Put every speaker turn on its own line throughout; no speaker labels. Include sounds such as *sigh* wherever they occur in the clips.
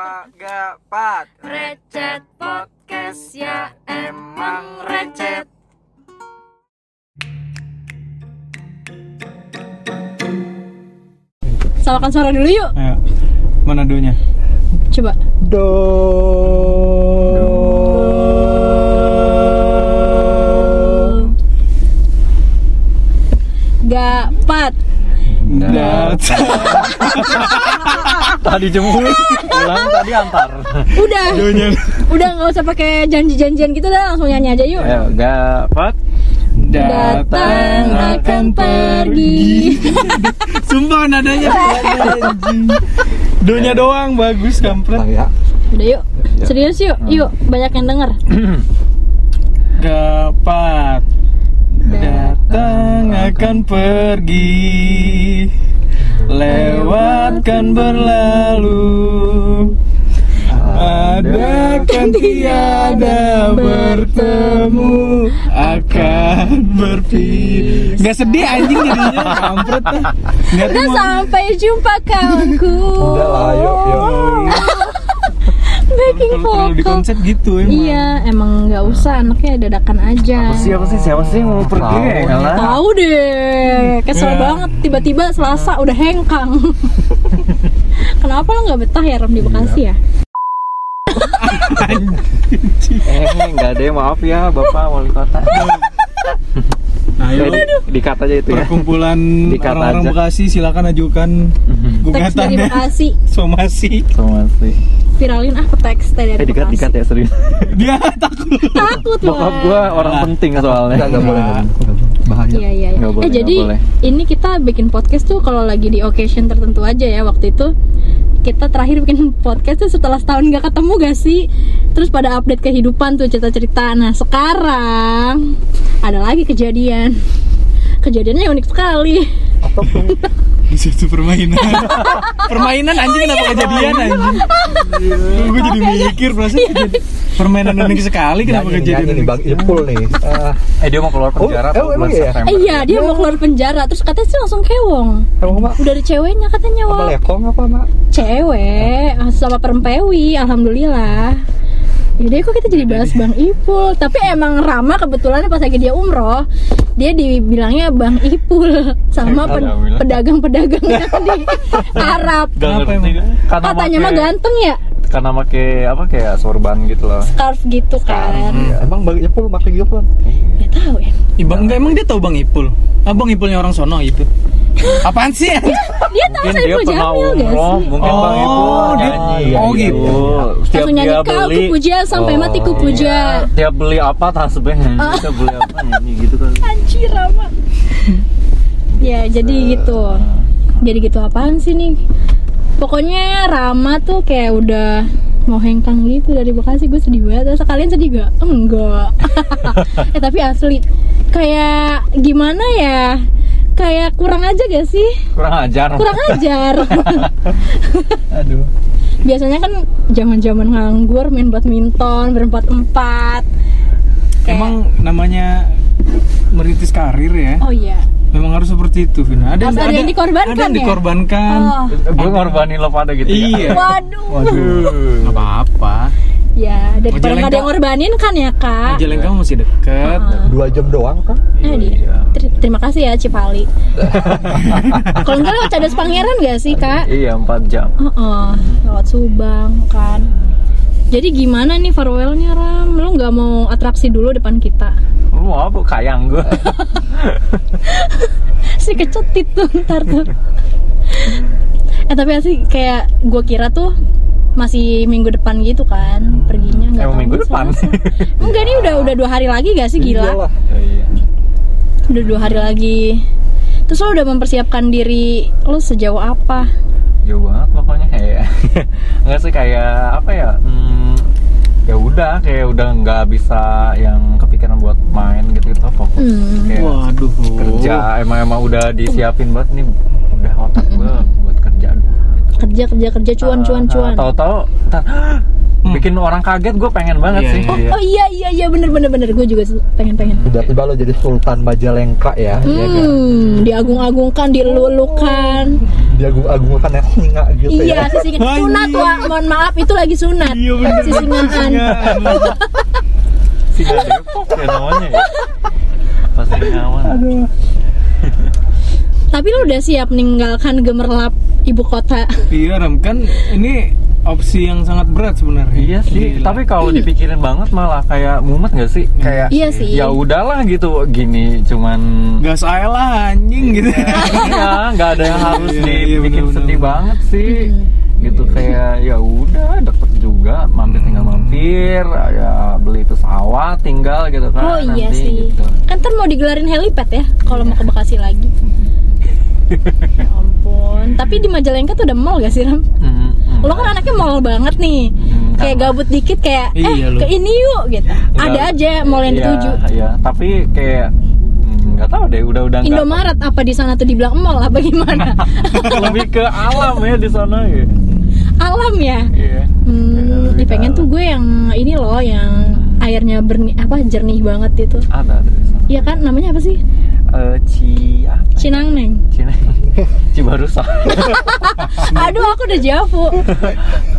Wagapat
Recet podcast ya emang recet.
Salahkan suara dulu yuk.
Ayo, mana donya?
Coba.
Do.
Gapat.
Dat.
tadi jemput pulang tadi antar
Udah.
Donya.
Udah nggak usah pakai janji-janjian gitu dah, langsung nyanyi aja yuk.
ayo dapat
Datang akan pergi.
Sumpah nadanya. Anjing. donya doang bagus kampret.
ya
Udah yuk.
Iya.
Serius yuk.
Hmm.
Yuk, banyak yang denger.
Gapat datang akan pergi. Lewatkan berlalu. Ada kan tiada bertemu akan berpisah. Gak sedih anjing jadinya kampret ah. Gak
Udah sampai jumpa kawanku.
Udah lah, yuk, yuk.
Backing
Kalau di
vocal.
konsep gitu emang.
Iya, emang nggak usah anaknya dadakan aja.
siapa sih siapa sih yang mau pergi
Tahu.
ya kalah
Tahu deh, kesel
Ya.
banget tiba-tiba Selasa udah hengkang. Kenapa lo nggak betah ya Ram di Bekasi ya?
eh nggak ada yang maaf ya bapak wali kota
Ayo
Jadi dikat aja itu ya
perkumpulan
Dikat
orang-orang
aja.
Bekasi silakan ajukan
Teks dari
gugatannya
Bekasi,
somasi.
sama sih
viralin ah ke teks dari
eh dikat
Bekasi.
dikat ya serius
Dia *laughs* takut.
Takut loh.
bokap gua orang
Nah.
penting soalnya
Enggak, enggak boleh. Bahaya.
Iya iya. iya.
Nggak boleh,
eh
nggak
jadi
boleh.
ini kita bikin podcast tuh kalau lagi di occasion tertentu aja ya waktu itu kita terakhir bikin podcast tuh setelah setahun nggak ketemu gak sih? Terus pada update kehidupan tuh cerita-cerita. Nah sekarang ada lagi kejadian. Kejadiannya unik sekali.
Di situ permainan. *laughs* permainan anjing kenapa kejadian anjing?
Iya.
Gue jadi mikir perasaan kejadian. Permainan unik sekali kenapa kejadian
nih
unik?
Bang Ipul nih. Eh,
eh dia mau keluar penjara
Oh,
apa
oh,
bulan
emang iya ya?
September
Eh, iya dia mau keluar penjara terus katanya sih langsung kewong.
emang Mak,
Udah ada ceweknya katanya
apa
wah
lekong apa Mak?
cewek ah, sama perempewi alhamdulillah Yaudah kok kita jadi bahas Bang Ipul Tapi emang Rama kebetulan pas lagi dia umroh Dia dibilangnya Bang Ipul *laughs* Sama pe-
Eh, Alhamdulillah.
pedagang-pedagang
*laughs*
yang di Arab
Nggak
Kenapa
ngerti.
emang?
karena
Katanya mah
make-
ganteng ya
karena make apa kayak sorban gitu loh
Scarf gitu kan
Iya. Emang Bang Ipul pakai gitu kan?
iya.
Ya tahu ya
Ibang enggak emang dia tahu Bang Ipul. Abang Ipulnya orang sono gitu. Apaan sih?
Dia tahu
mungkin
saya
dia
Ipul
pernah
Jamil gak
umroh
sih?
mungkin
Oh,
bang itu
dia-
nyanyi
oh,
Iya,
gitu.
iya. setiap
Langsung nyanyi
dia
kau
beli
kupuja sampai
Oh,
mati kupuja
Iya, tiap beli apa tasbih
Ah.
kita beli apa nyanyi gitu kan
Anjir Rama *laughs* Ya jadi gitu jadi gitu apaan sih nih pokoknya Rama tuh kayak udah mau hengkang gitu dari Bekasi gue sedih banget Terus kalian sedih gak? enggak *laughs* eh tapi asli kayak gimana ya kayak kurang aja gak sih
kurang ajar
kurang ajar
aduh
biasanya kan zaman zaman nganggur main badminton berempat empat Kayak-
Emang namanya merintis karir ya.
oh iya
Memang harus seperti itu, Vina. Ada,
Harus ada yang dikorbankan
Ada yang
ya?
dikorbankan.
oh
Eh, gue ngorbanin lo pada gitu
Iya.
ya
waduh
Nggak apa-apa.
ya daripada
Majalengka-
nggak ada yang ngorbanin kan ya kak
Jalan kamu masih deket.
Ah.
Dua jam doang kan?
Eh, dia.
Iya.
Ter- terima kasih ya
*laughs*
Cipali. Kalau enggak lewat Cadas Pangeran gak sih kak?
iya empat jam
Heeh, lewat Subang kan. Jadi gimana nih farewellnya Ram? Lu nggak mau atraksi dulu depan kita?
lu mau apa kayang gue
Si kecetit tuh ntar tuh. eh tapi sih kayak gue kira tuh masih minggu depan gitu kan perginya nggak
Emang
tahu
minggu depan?
Selasa. enggak nih udah udah dua hari lagi gak sih *laughs* gila
Iyalah.
iya
udah dua hari lagi terus lo udah mempersiapkan diri lo sejauh apa
jauh banget pokoknya *laughs* kayak nggak sih kayak apa ya hmm, ya udah kayak udah nggak bisa yang kepikiran buat main gitu gitu fokus
Hmm.
kayak
Waduh.
kerja emang emang udah disiapin banget nih udah otak gue buat kerja
kerja kerja kerja cuan cuan
Ah,
cuan Oh,
tahu-tahu *gasps* tar- bikin orang kaget gue pengen banget
Iya,
sih
iya,
oh, oh iya iya iya bener bener bener gue juga su- pengen pengen
*laughs* Tiba-tiba lo jadi Sultan Majalengka ya. Iya kan?
hmm diagung-agungkan dilulukan
diagung-agungkan ya singa gitu
iya
ya
sisi
Anjing.
sunat wah mohon maaf itu lagi sunat
Iya bener
sisi ngaan *laughs*
Singaan.
Singa Depok ya namanya ya Apa Singawan?
tapi lu udah siap meninggalkan gemerlap ibu kota
Iya Ram kan ini opsi yang sangat berat sebenarnya.
Iya sih,
Gila.
tapi kalau dipikirin banget malah kayak mumet gak sih? Kayak
iya sih
ya udahlah gitu gini cuman
gas aja lah anjing
*laughs*
gitu.
Iya, nggak ada yang harus
Iya, iya,
dibikin
bener-bener.
sedih banget sih
Hmm.
gitu kayak ya udah deket juga
Mm-hmm.
mampir tinggal mampir ya beli pesawat tinggal gitu kan
oh iya
nanti,
sih
gitu.
kan ntar mau digelarin helipad ya kalau mau ke Bekasi
*laughs*
lagi ya ampun tapi di Majalengka tuh ada mall gak sih Ram?
Mm, mm.
lo kan anaknya mall banget nih
Hmm,
kayak
sama.
gabut dikit kayak eh
Iya, lu.
ke ini yuk gitu
Nggak-
ada aja mall yang
Iya,
dituju
iya tapi kayak mm, nggak tahu deh udah udah nggak
Indomaret apa di sana tuh dibilang mall apa gimana
*laughs* lebih ke alam ya di sana ya
alam ya
Iya. Iya,
hmm, ih,
lebih ke
pengen
alam.
tuh gue yang ini loh yang airnya berni apa jernih banget itu
ada ada di sana
Iya kan namanya apa sih
Eh, ci apa ya?
Cinangneng
Cina *laughs* Cibarusah
aduh aku udah javu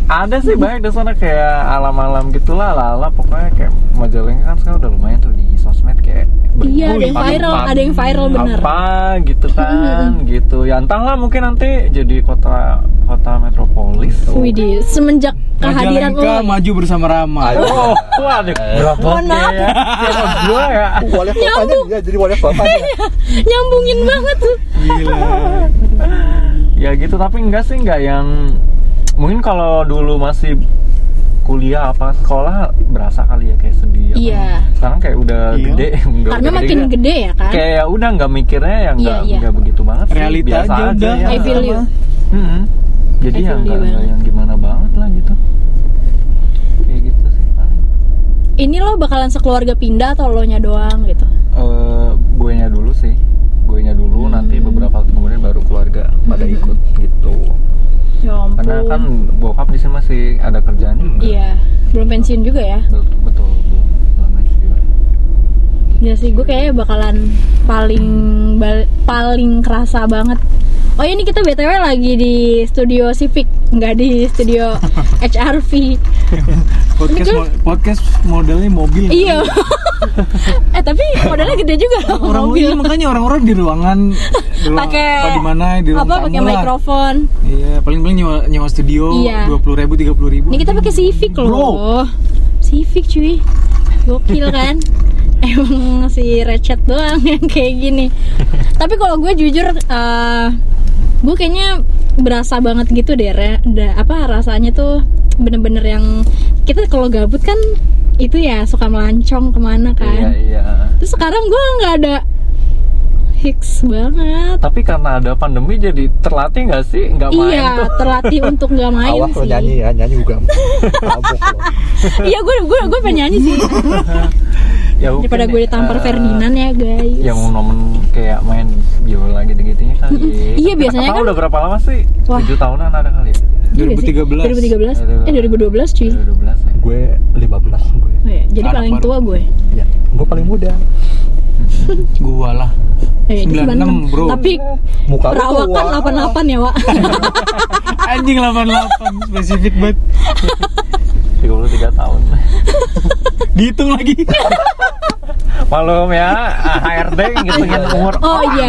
ada sih banyak di sana kayak alam-alam gitulah ala-ala pokoknya kayak Majalengka kan sekarang udah lumayan tuh di sosmed kayak
Iya, ada yang
berlipat-lipat.
viral, ada yang viral bener.
apa gitu
*laughs*
kan gitu ya entahlah mungkin nanti jadi kota kota metropolis
Widih semenjak kehadiran lo
Majalengka maju bersama Rama.
oh
*laughs*
waduh berapa
Mohon maaf.
ya Kira gua ya
wali kotanya
Nyambung.
dia jadi wali kotanya
nyambungin banget tuh *laughs*
Gila.
ya gitu tapi enggak sih enggak yang mungkin kalau dulu masih kuliah apa sekolah berasa kali ya kayak sedih apa.
Iya.
sekarang kayak udah
Iya.
gede *laughs* enggak
karena
udah
makin
enggak.
gede ya kan
kayak ya udah nggak mikirnya yang
Iya,
nggak
iya.
nggak begitu banget sih
Realita
biasa
aja udah.
ya.
I feel you
Mm-mm. jadi
I
ya
feel you
nggak nggak
banget.
yang gimana banget lah gitu kayak gitu sih paling
ini lo bakalan sekeluarga pindah atau lo nya doang gitu
Eh, gue nya dulu sih gue nya dulu nanti beberapa waktu kemudian baru keluarga pada
Hmm.
ikut gitu
ya ampun
karena kan bokap di sini masih ada kerjaan juga
iya belum pensiun juga ya
betul betul belum belum pensiun.
Iya sih, gue kayaknya bakalan paling bal- paling kerasa banget. Oh ya, ini kita btw lagi di studio Civic, nggak di
*laughs*
studio HRV.
Podcast mo- podcast modelnya mobil.
*laughs*
iya. eh tapi modelnya gede juga loh
Orang
mobil.
mobil makanya orang-orang di ruangan di ruang-
Pakai
apa di mana di ruang
apa?
tamu
Pakai
lah.
mikrofon.
Iya, paling-paling nyewa, nyewa studio
Iya.
dua puluh ribu tiga puluh ribu.
Ini kita pakai Civic
Bro.
loh. Civic cuy.
*laughs*
Gokil kan? Emang si recet doang yang kayak gini. Tapi kalau gue jujur eh, gue kayaknya berasa banget gitu deh Re. Da- apa rasanya tuh bener-bener yang kita kalau gabut kan itu ya suka melancong kemana
iya
kan.
iya
Terus sekarang gue nggak ada hicks banget.
tapi karena ada pandemi jadi terlatih nggak sih nggak main
Iya,
tuh
terlatih untuk
*laughs*
nggak main
awas lo
sih.
nyanyi ya nyanyi juga mabuk lo
Iya, gue gue gue pengen nyanyi
*laughs*
sih.
ya, mungkin,
daripada gue ditampar
eh,
Ferdinand ya guys
ya mau nomen kayak main biola gitu-gitunya kali ya.
Iya,
Kita
biasanya
kenal
kan-
udah berapa lama sih
Wah.
7 tahunan ada kali ya
Iya gak sih? 2013
2013.
eh 2012 cuy
2012 ya
gue 15 gue
Oh iya, jadi
Anak
paling
baru.
tua gue
ya gue paling muda
Gua lah.
Eh, dia
96, bro.
tapi
muka lu
perawakan
tua.
88
*laughs*
ya Wak *laughs*
Anjing 88 spesifik banget.
33
*laughs*
tahun
Dihitung lagi.
malum ya HRD ngitungin umur
oh
orang.
iya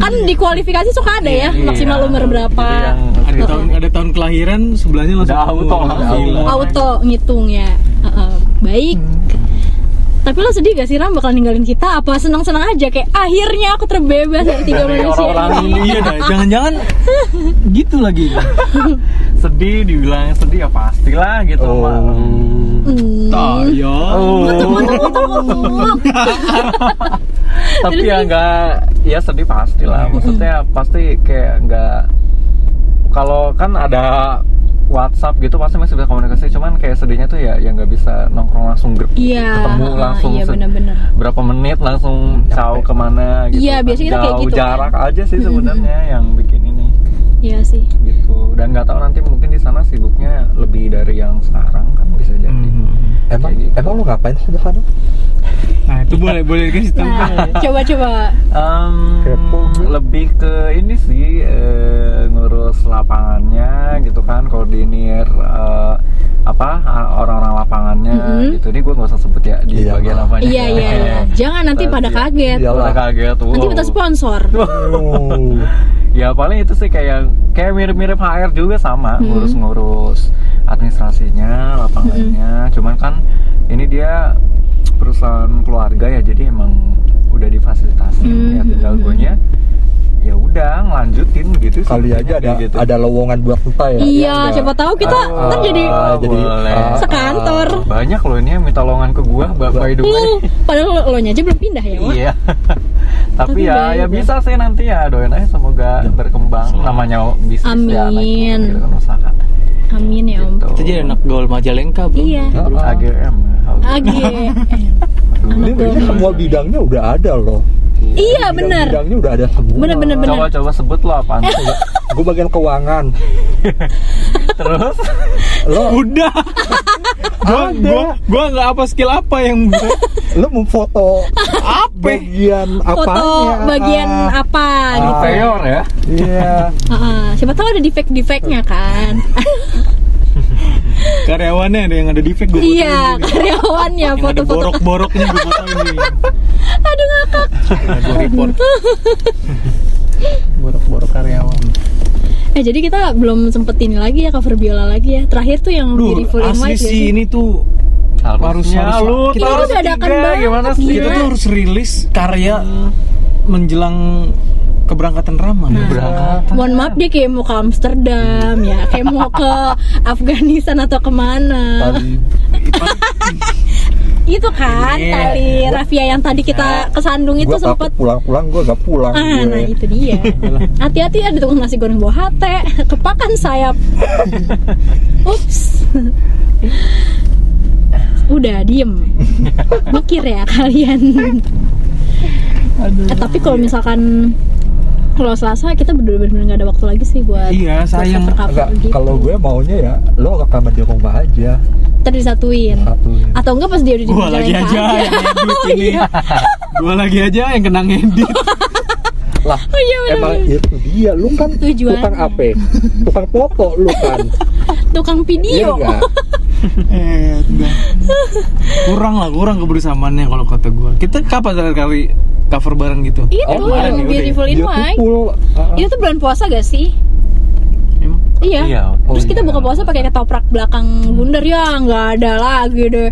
kan di kualifikasi suka ada ya
Iya.
maksimal umur berapa
Jadi
ada
yang
tahun ada tahun kelahiran sebelahnya langsung
Udah auto,
keluar.
langsung.
Gila.
auto ngitung ya Heeh, baik
Hmm.
tapi lo sedih gak sih Ram bakal ninggalin kita apa senang-senang aja kayak akhirnya aku terbebas dari tiga
Dari
manusia *laughs*
orang-orang
ini.
Iya dah, jangan-jangan gitu lagi.
sedih dibilang sedih ya pastilah gitu
Oh.
Mak.
Hmm.
Tayo.
Oh.
Muak.
tapi ya nggak ya sedih pasti
Hmm.
lah maksudnya pasti kayak nggak kalau kan ada WhatsApp gitu pasti masih bisa komunikasi cuman kayak sedihnya tuh ya yang nggak bisa nongkrong langsung ger-
Iya,
ketemu
ah,
langsung
iya
se-
bener-bener.
berapa menit langsung tahu kemana gitu
Iya,
kan.
biasanya kita kayak
Jauh
gitu kan.
jarak aja sih sebenarnya yang bikin ini
Iya sih
gitu dan nggak tahu nanti mungkin di sana sibuknya lebih dari yang sekarang kan bisa jadi
Hmm.
Emang
Kayak gitu.
emang lu ngapain sih di sana?
Nah itu boleh boleh kasih tahu.
Nah, coba-coba
Em,
Kepo gue.
lebih ke ini sih eh, ngurus lapangannya gitu kan koordinir eh, apa a- orang-orang lapangannya
Mm-mm.
gitu ini gue nggak usah sebut ya di
Iya,
bagian
Pak.
apanya
Mm-hmm. Iya iya iya.
*laughs*
Jangan nanti pada kaget.
Iya.
Pada kaget tuh
Nanti minta sponsor.
Oh.
ya paling itu sih kayak kayak mirip-mirip HR juga sama
Mm-mm.
ngurus-ngurus administrasinya
Hmm.
lapangannya cuman kan ini dia perusahaan keluarga ya jadi emang udah difasilitasi
Mm-mm.
ya tinggal gue ya udah ngelanjutin gitu sih.
Kali aja ada
Kayak gitu.
ada lowongan buat entah ya.
Iya,
enggak?
siapa tahu kita
Ah,
ntar jadi
ah, jadi
Boleh.
ah, ah.
sekantor.
banyak loh ini yang minta lowongan ke gue bapak hidup
Uh, padahal lo, lo nya aja belum pindah ya, Wak?
iya *laughs* tapi,
Tapi
ya
baik
ya
ya.
bisa sih nanti ya doain aja semoga berkembang namanya bisnis ya naik
Amin.
gitu kan usaha
Amin ya om.
Gitu.
Itu jadi anak gaul Majalengka bro.
Iya.
Ah, ah.
AGM
Agi.
Aduh.
Ini ini semua bidangnya udah ada loh.
iya benar.
Bidangnya udah ada semua.
Benar benar benar.
coba coba sebut lo
*laughs*
apaan sih?
Gue bagian keuangan.
*laughs* terus
Lo
Udah. gua gua gua nggak apa skill apa yang
lo memfoto
apa?
bagian apa?
Foto bagian apa gitu.
Peor ya
Iya.
*laughs* Ah, ah. siapa tahu ada defect-defectnya kan.
Karyawannya ada yang ada defect gue.
iya, karyawannya
Yang ada
foto-foto.
borok-boroknya gue fotoin
*laughs*
nih.
Aduh ngakak.
Gue report. Borok-borok karyawan.
Eh jadi kita belum sempet ini lagi ya cover biola lagi ya. Terakhir tuh yang
Duh,
beautiful in
asli
white. ya
sih ini tuh
harusnya
harus-
lu
kita
kita
Ini
harus
tuh dadakan
tiga,
banget,
gimana sih
gila.
kita tuh harus rilis karya
Hmm.
menjelang keberangkatan Rama.
Nah,
Berangkat.
Mohon maaf dia kayak mau ke Amsterdam ya, kayak mau
*laughs*
ke Afghanistan atau kemana.
Tadi
Itu kan
Iya.
tali Rafia yang tadi kita kesandung itu
gue Iya. takut
sempet
pulang-pulang gue gak pulang.
Ah,
Iya.
gue.
nah itu dia. Hati-hati ada tukang nasi goreng bawa hate, kepakan sayap. Ups. Udah diem. Mikir ya kalian. Eh, tapi kalau misalkan kalau Selasa kita bener-bener nggak ada waktu lagi sih buat
Iya,
buat
sayang.
cover-cover
Enggak,
gitu.
kalau gue maunya ya lo rekaman di rumah aja
Ntar disatuin.
satu.
atau enggak pas dia udah di
Gua lagi
Majalengka
aja yang
*laughs*
edit ini.
Iya.
Gua lagi aja yang kenang edit.
Lah,
oh iya bener
emang itu dia. Lu kan
Tujuannya.
tukang apa? Tukang foto lu kan.
tukang
Iya
video
enggak?
Eh, udah. kurang lah, kurang kebersamaannya kalau kata gua. Kita kapan terakhir kali cover bareng gitu?
itu
Oh, kemarin
ya, udah
beautiful in
Dia
white
kumpul. Ah,
itu tuh bulan puasa gak sih
Emang?
iya,
Iya, oh
terus kita
iya.
buka puasa pakai ketoprak belakang bundar ya nggak ada lagi deh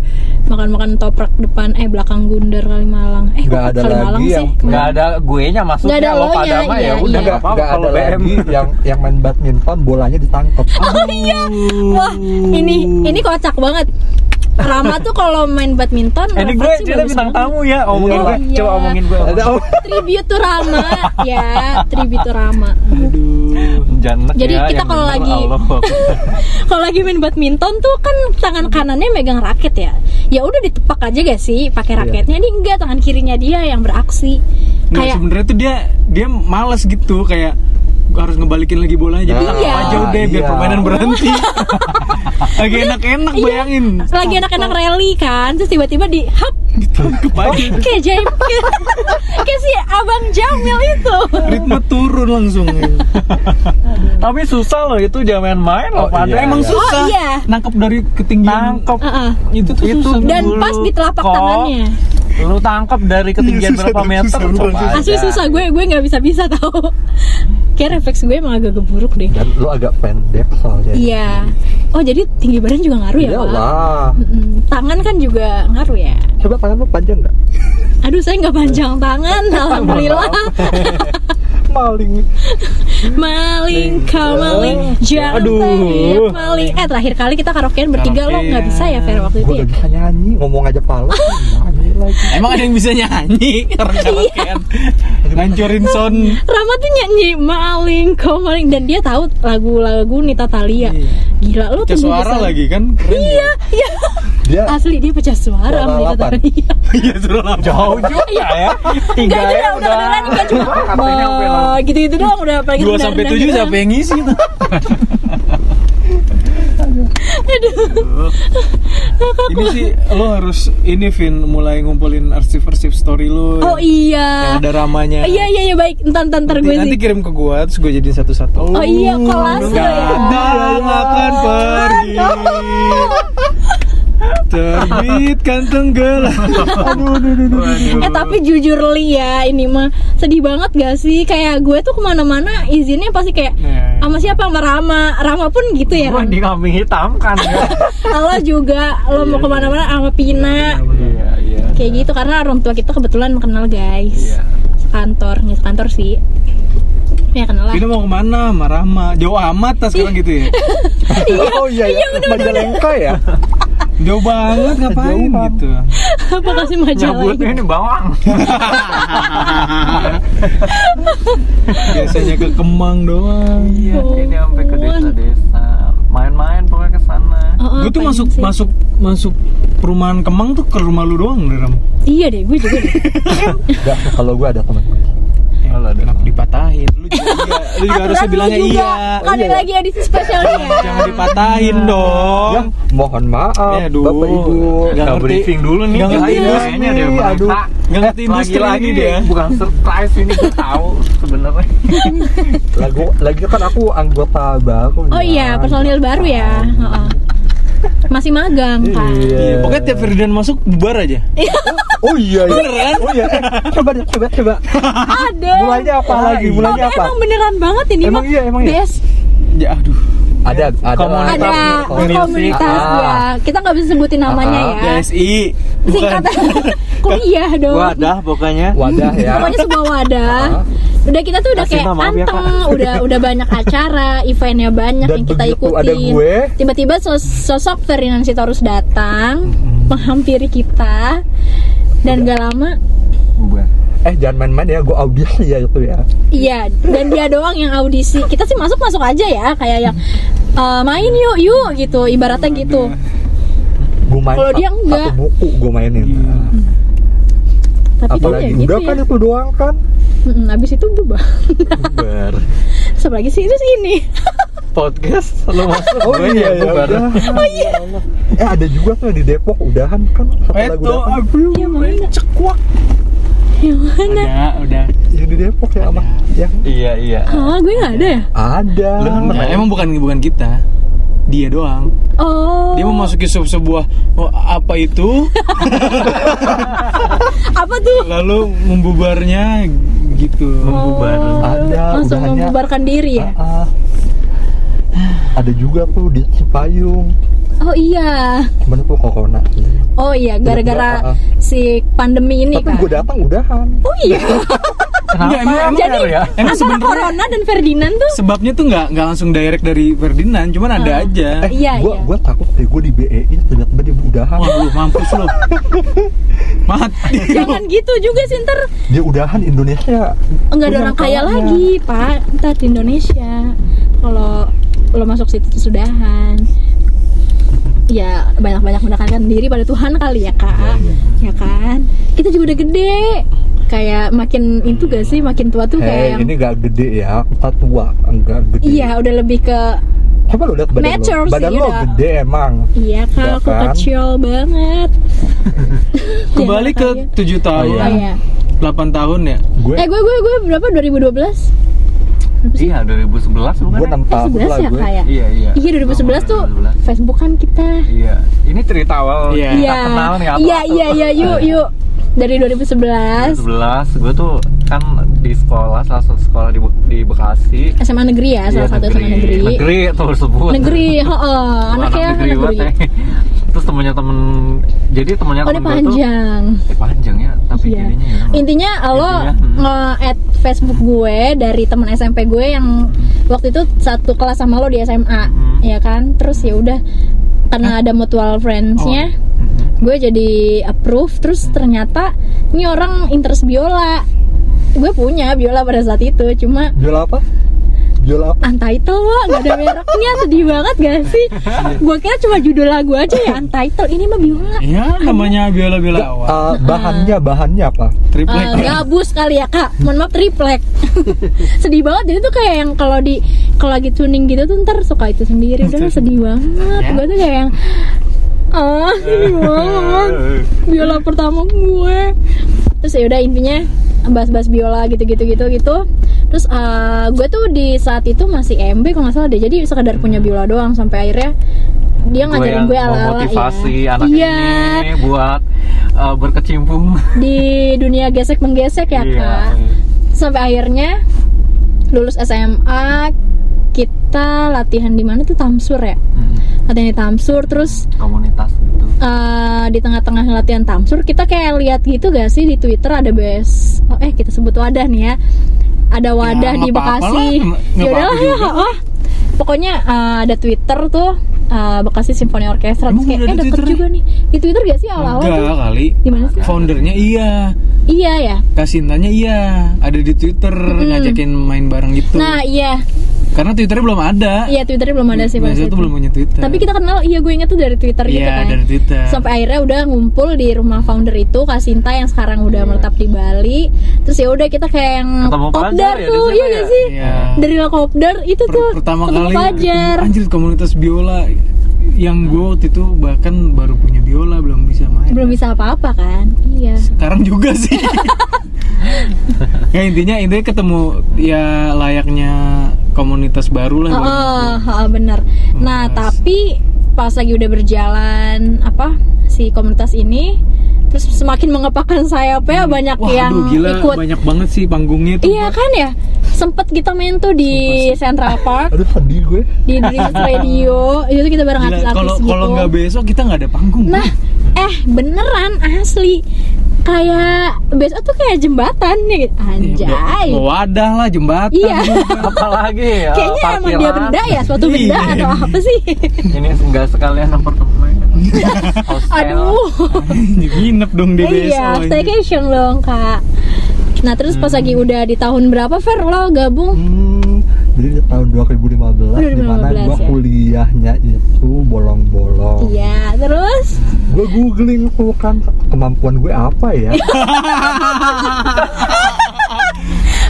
makan-makan toprak depan eh belakang bundar kali malang eh
Nggak
kok
ada
kali
lagi
malang
yang-
sih
nggak ada gue nya maksudnya
Nggak ada
lo
lo-nya,
pada mah
iya,
ya udah
iya.
nggak
Enggak,
apa-apa
enggak ada
kalau BM
lagi yang yang main badminton bolanya ditangkap.
oh iya wah ini ini kocak banget Rama tuh kalau main badminton
Eh, *laughs* ini gue
refleksi
jadi
bagus
bintang
banget.
tamu ya omongin
Iya.
gue
Iya.
coba omongin gue
Ada oh,
tribute to Rama ya tribute to Rama
Aduh.
Janet
Jadi
ya,
kita
yang
kalau
bener,
lagi- *laughs*
Allah.
kalau lagi main badminton tuh kan tangan kanannya megang raket ya ya udah ditepak aja gak sih pakai raketnya ini enggak tangan kirinya dia yang beraksi
Nggak,
kayak
sebenarnya tuh dia dia malas gitu kayak gua harus ngebalikin lagi bolanya jadi
Nah,
tangkap aja udah biar
iya.
permainan berhenti lagi enak-enak bayangin
lagi anak-anak rally kan terus tiba-tiba di hap
Tangkep aja
kayak jaim *laughs* kayak si abang Jamil itu
ritme turun langsung ya.
Tapi susah loh itu jangan main-main loh
Oh,
pada
iya,
emang
iya.
susah
Oh, iya.
nangkep dari ketinggian
tangkep
Heeh.
itu tuh
Itu
susah
dan
Dulu
pas di telapak
kok.
tangannya
Lu tangkep dari
Iya,
ketinggian
Susah
berapa
dong,
meter
susah dong,
coba
susah.
asli
aja.
susah gue gue nggak bisa bisa tau *laughs* kayak refleks gue emang agak geburuk deh
dan lu agak pendek soalnya.
iya oh jadi tinggi badan juga ngaruh ya pak
Iyalah.
Mm-mm. tangan kan juga ngaruh ya
Coba tangan lu panjang enggak?
Aduh saya nggak panjang tangan, alhamdulillah.
Maling.
maling, kau maling, jangan
Aduh.
teriak maling. Eh terakhir kali kita karaokean bertiga lo nggak bisa ya Fer waktu
Gue
itu ya?
gak bisa nyanyi, ngomong aja pala.
Ah.
Nyanyi lagi.
emang ada yang bisa nyanyi orang karaokean ngancurin sound
Rama tuh nyanyi maling, kau maling dan dia tahu lagu-lagu Nita Thalia.
Iya.
Gila lo
ke
tuh
suara
bisa.
lagi kan keren iya
Dia
Asli dia pecah suara sama Nita
Suara
Thalia.
iya suara lama
Jauh juga ya. Tiga
Gak itu
ya
udah udah
udah.
udah nih cuma
Katanya udah.
*laughs*
"Wah," gitu-gitu doang udah paling
dua sampai tujuh siapa yang ngisi tuh Aduh. Ini sih lo harus ini Vin mulai ngumpulin arsip-arsip story lo.
Oh iya.
Yang ada ramanya.
Iya iya iya baik. Entar entar entar
Nanti,
gue
Ya nanti
sih.
kirim ke gua terus gue jadiin satu-satu.
Oh iya kelas lo
Gak
ya.
ada akan pergi Terbitkan
*laughs*
tenggelam Aduh, aduh, aduh, aduh.
Eh tapi jujur li ya ini mah sedih banget gak sih kayak gue tuh kemana-mana izinnya pasti kayak
Iya, iya.
sama siapa sama Rama Rama pun gitu ya
Wah,
Ram.
di kami hitam kan
*laughs*
ya.
lo juga lo
Iya,
mau kemana-mana sama Pina
Iya, iya.
kayak gitu karena orang tua kita kebetulan kenal guys
Iya.
sekantor nggak sekantor sih ya kenal lah
Vina mau kemana? Sama Rama Jauh amat lah sekarang gitu ya
Ah,
*laughs* oh iya ya Majalengka ya
Jauh banget ngapain
Jauh banget.
gitu
*laughs* apa kasih majalah gitu?
Nyebutnya ini bawang.
Biasanya ke Kemang doang
Iya,
Oh,
ini sampai ke desa-desa. Main-main pokoknya ke sana.
Oh, oh,
Gue tuh
apaan
masuk
sih?
masuk masuk perumahan Kemang tuh ke rumah lu doang Ram
iya deh gue juga deh.
Enggak, kalau gue ada teman
Eh,
Halo, ada
Kenapa
Kemang.
dipatahin? Lu juga, lu juga harusnya
Aturan lu
bilangnya
juga.
iya
kan ada lagi edisi spesialnya ya?
Jangan dipatahin dong
ya mohon maaf
Ya, aduh.
bapak ibu
Nggak
Nggak
ngerti.
briefing dulu nih.
Nggak
Iya.
ngerti
kayaknya.
industri,
Kayaknya dia
aduh.
berita.
Nggak ngerti industri
Lagi-lagi
ini
dia
dia
bukan surprise ini gue tahu sebenarnya.
lagu lagi kan aku anggota baru
oh
ya.
iya personil baru ya Oh, oh. masih magang kan
Iya, pokoknya tiap Firdan masuk bubar aja.
oh iya iya oh iya Eh, coba deh coba coba
ada
mulainya apa lagi mulainya
Tapi
apa
emang beneran banget ini
Emang
mah.
iya, emang iya.
Best.
Ya aduh.
ada ada
Komunitas
ada
Komunitas
oh,
musik.
komunitas
Ah.
ya kita nggak bisa sebutin namanya
Ah,
ya
BSI. Bukan.
singkatan *laughs* kuliah dong
Wadah pokoknya.
wadah ya
pokoknya sebuah wadah
Ah.
udah kita tuh udah
Kasih
kayak
nama, maaf ya,
anteng
Kak.
*laughs*
udah udah banyak acara eventnya banyak
Dan
yang kita
begitu
ikutin
ada gue.
tiba-tiba sos- sosok Ferdinand Sitorus datang menghampiri kita dan gak lama
eh jangan main-main ya gue audisi *laughs* ya itu ya
Iya, dan dia doang yang audisi. Kita sih masuk masuk aja ya, kayak yang "Eh, main yuk yuk gitu, ibaratnya gitu.
gue main
Kalau
sa-
dia enggak.
satu buku gue mainin
Tapi kan ya
apalagi
gitu
udah
ya.
kan itu doang kan
Mm, abis itu berubah. *laughs*
ber
Terus lagi sih terus ini. *laughs*
Podcast lu masuk
*laughs* oh
gue
iya
ya
ya
bubar.
udah oh iya eh ada juga tuh yang di Depok udahan kan satu lagu
Iya,
Itu
udahan
aduh,
Yang mana?
cekuak.
Yang mana?
Udah, udah.
yang di Depok ya sama yang
Iya, iya.
Ah, gue nggak ada ya.
ada
Nah, emang bukan bukan kita. Dia doang.
Oh.
Dia memasuki se- sebuah oh, apa
*laughs*
itu?
apa tuh?
Lalu membubarnya gitu.
Membubar.
Ada,
Oh, Langsung
udahannya.
membubarkan diri ya.
Ah, ah. ada juga tuh di Cipayung
Oh iya.
cuman tuh corona
Oh iya,
Ah, ah.
gara-gara si pandemi ini
tapi
kan.
gue datang udahan
Oh
*laughs*
iya.
Enggak, emang, emang,
Jadi
ya?
emang
antara *laughs*
sebenarnya
corona dan Ferdinand
*laughs*
tuh
sebabnya tuh nggak nggak langsung direct dari Ferdinand, cuman ada aja.
eh
Iya,
gue
iya.
gue takut deh gue di BE tiba-tiba dia udahan
Wah, lu mampus lu.
*laughs*
Mati.
jangan gitu juga sih ntar
dia udahan Indonesia
nggak ada
Punya
orang kaya
kawannya.
lagi pak ntar di Indonesia kalau lo masuk situ tuh sudahan ya banyak-banyak mendekatkan diri pada Tuhan kali ya kak ya kan kita juga udah gede kayak makin itu gak sih makin tua tuh kayak
Hei,
yang
Eh, ini gak gede ya, kita tua, enggak gede.
iya udah lebih ke
Coba lu lihat badan
Nature
lu.
sih,
Badan lu
udah.
gede emang.
iya
Udah
kak aku
kan?
kecil banget Iya,
Kembali ke
Jangan
7 tahun.
Oh,
kaya. oh, iya.
8 tahun ya?
Gue
eh gue gue gue berapa 2012
Iya, 2011 bukan?
gue
ya?
6 tahun
Eh,
lah
11 ya
gue.
kak ya
Iya, iya.
iya 2011 tuh
2011.
Facebook kan kita
Iya. Ini cerita awal
Iya.
kita kenal nih apa?
Iya, iya, iya, yuk, yuk. Dari 2011
2011 gue tuh kan di sekolah salah satu sekolah di, Be- di Bekasi.
SMA negeri ya, salah
Iya,
satu SMA negeri.
Negeri tuh sebut.
Negeri, heeh,
Wah,
anaknya anak
negeri
negeri.
banget ya. Terus temennya temen jadi temennya
Oh, dia
temen gue tuh
panjang.
eh, panjang ya, tapi
Iya.
jadinya ya.
Intinya lo
Intinya, hmm.
nge-add Facebook gue dari teman SMP gue yang waktu itu satu kelas sama lo di SMA,
Hmm.
ya kan? Terus ya udah karena ada mutual friends-nya,
Oh.
gue jadi approve
Hmm.
terus ternyata ini orang interest biola. Gue punya biola pada saat itu, cuma
Jual apa? Judul apa?
untitled wah nggak ada mereknya sedih banget gak sih gue kira cuma judul lagu aja ya untitled ini mah biola
ya namanya biola biola awal
Ah.
Eh, bahannya bahannya apa?
triplek
Eh, gabus kali ya kak mohon maaf triplek *laughs* sedih banget jadi tuh kayak yang kalau di kalau lagi tuning gitu tuh ntar suka itu sendiri udah sedih banget
Ya.
gue tuh kayak yang ah
*laughs*
sedih banget biola pertama gue terus ya udah intinya bahas-bahas biola gitu-gitu gitu gitu terus eh, gue tuh di saat itu masih MB kalau nggak salah deh jadi sekedar punya biola doang sampai akhirnya dia
Gua
ngajarin
Hmm. yang
gue ala-ala
memotivasi
ya.
anak
Iya,
ini buat eh, berkecimpung
di dunia gesek menggesek ya
Iya.
kak sampai akhirnya lulus SMA kita latihan di mana tuh Tamsur ya
Hmm,
latihan di Tamsur terus
komunitas gitu
*laughs* eh, di tengah-tengah latihan Tamsur kita kayak lihat gitu gak sih di Twitter ada bes oh, eh kita sebut wadah nih ya ada wadah
Ya, nggak
di
apa-apa
Bekasi
lah, nggak- nggak
Yaudah
apa-apa
lah, ya, oh. pokoknya eh, ada Twitter tuh eh, Bekasi Symphony Orchestra terus
Emang
kayak
udah
eh
ada
deket
Twitter-nya?
juga nih di Twitter gak sih awal-awal
enggak
tuh
kali
di mana sih
foundernya iya
iya ya
Kasintanya iya ada di Twitter ngajakin main bareng gitu
Hmm. nah iya
karena Twitternya belum ada
iya Twitternya belum ada sih waktu
Biasa tuh
itu.
Nah, belum punya Twitter
Tapi kita kenal, iya gue inget tuh dari Twitter gitu
Iya,
kan.
dari Twitter.
Sampai akhirnya udah ngumpul di rumah founder itu, Kak Sinta yang sekarang udah
Iya.
menetap di Bali. Terus ya udah kita kayak yang
Ketemu
kopdar
pelajar ya di
tuh,
sana
iya
ya?
gak sih?
Iya.
Dari kopdar itu
Per-
tuh
pertama
ketemu
kali
Fajar.
ketemu- anjir komunitas biola yang gue waktu itu bahkan baru punya biola belum bisa main
Belum bisa apa-apa kan? Iya.
sekarang juga
*laughs*
sih ya intinya intinya ketemu ya layaknya komunitas baru lah
Oh,
dalam-
oh, oh, bener. Nah,
Yes.
tapi pas lagi udah berjalan apa si komunitas ini terus semakin mengepakkan sayapnya banyak
Wah,
yang
aduh, gila
ikut
banyak banget sih panggungnya tuh.
Iya kan ya? Sempet kita main tuh di Central Park,
Aduh sedih gue.
di
*laughs*
Dreams Radio. Itu kita bareng
Gila,
artis-artis
kalau
gitu.
kalau nggak besok kita nggak ada panggung.
Nah, eh beneran asli. Kayak besok tuh kayak jembatan ya gitu. Anjay.
Iya, Mau wadah lah jembatan.
Iya.
apalagi ya,
Kayaknya emang dia
parkiran.
benda ya, suatu benda
Iya.
atau apa
*laughs*
sih?
ini enggak sekalian
*laughs*
apartemen Hostel.
Aduh.
Ini *laughs* Nginep dong di besok.
Iya, staycation dong, Kak. Nah, terus pas
Hmm.
lagi udah di tahun berapa Fer lo gabung?
Hmm, jadi tahun 2015, di mana
2015
gue
ya?
kuliahnya itu
Hmm.
bolong-bolong.
Iya, terus
Gue googling tuh kan kemampuan gue apa
*laughs*
ya?
oh, lo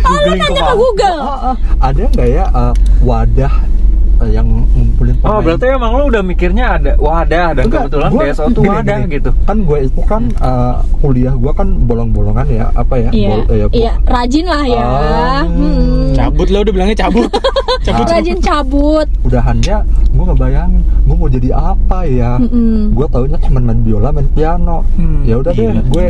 Googling
nanya ke
kemampuan.
Google.
Oh,
Ah, ah, ada nggak ya eh, wadah eh, yang ngumpulin pemain?
Oh berarti emang lu udah mikirnya ada wadah dan
Enggak,
kebetulan
gua-
DSO tuh
gini,
wadah
gini.
gitu.
Kan gue itu kan eh, kuliah gue kan bolong-bolongan ya, apa ya?
Iya,
bol- eh, ya,
iya, rajin lah ya.
Ah.
Mm-mm.
Cabut lah udah bilangnya
*laughs*
cabut. cabut.
Rajin cabut.
udahannya gue ngebayangin gue mau jadi apa ya
Mm-mm.
gue taunya cuma main biola main piano
Hmm,
ya udah deh
iya.
gila.
gue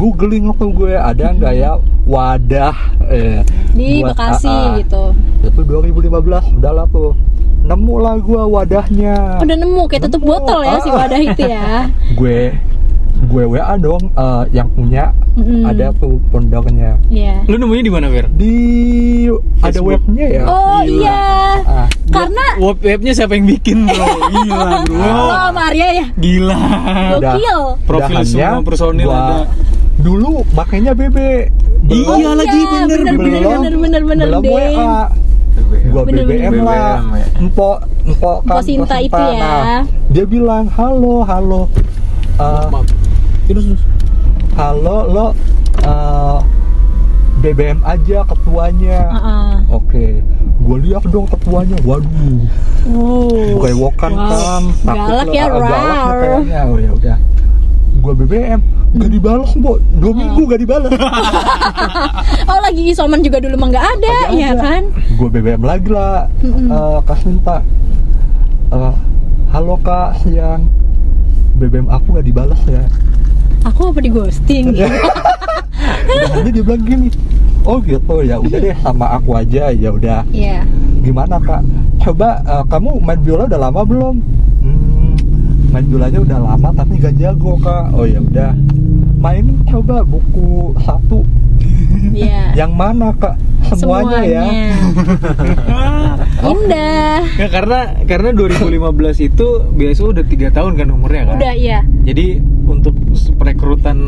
googling waktu gue ada nggak ya wadah eh,
Di
buat eh,
Bekasi
AA.
gitu.
itu 2015 udah lah tuh nemu lah gue wadahnya
Udah nemu kayak tutup
Nemu,
botol ya
ah.
si wadah itu
*laughs*
ya.
gue gue wa dong eh, yang punya
Mm-mm.
ada tuh pondoknya
Iya.
Lu nemunya di mana, Fer?
di ada
Facebook.
webnya ya
Oh
Gila.
iya.
Ah,
Karena
Web webnya siapa yang bikin,
*laughs*
Bro? Gila, Bro.
oh Maria ya.
Gila.
Iya. Udah.
Gokil.
Profil
udahannya
semua personil
gua-
ada.
dulu makainya BB Belum-
Iya lagi
Iya,
bener,
bener,
bener.
bener. bener,
belum
deng.
WA gua
Bener,
BBM,
bener.
lah
BBM, ya.
empok empok kan
Empok Sinta
Empok
itu ya.
Nah, dia bilang halo halo eh,
Maaf. Terus terus.
halo lo eh, BBM aja ketuanya
Heeh.
oke gua lihat dong ketuanya waduh
Uh.
Oh. kewokan
Wow.
kan takut
Galak ya,
lah, galak
rar.
nih kayaknya oh ya udah gua BBM gak dibalas mbok dua
Uh-uh.
minggu gak dibalas
Oh lagi isoman juga dulu mah nggak ada,
Nggak
ya
ada.
kan?
gue BBM lagi lah
Mm-mm.
Eh, Kak Sinta Eh, halo kak siang BBM aku gak dibalas ya
Aku apa di
*laughs*
ghosting? Iya.
Jadi dia bilang gini oh gitu ya udah deh sama aku aja ya udah
Iya.
gimana kak coba eh, kamu main biola udah lama belum hmm, main biolanya udah lama tapi gak jago kak oh ya udah main coba buku satu
Iya.
yang mana kak Ya, semuanya, ya
Indah.
Ya karena karena 2015 itu biasanya udah tiga tahun kan umurnya kan.
Udah ya.
Jadi untuk perekrutan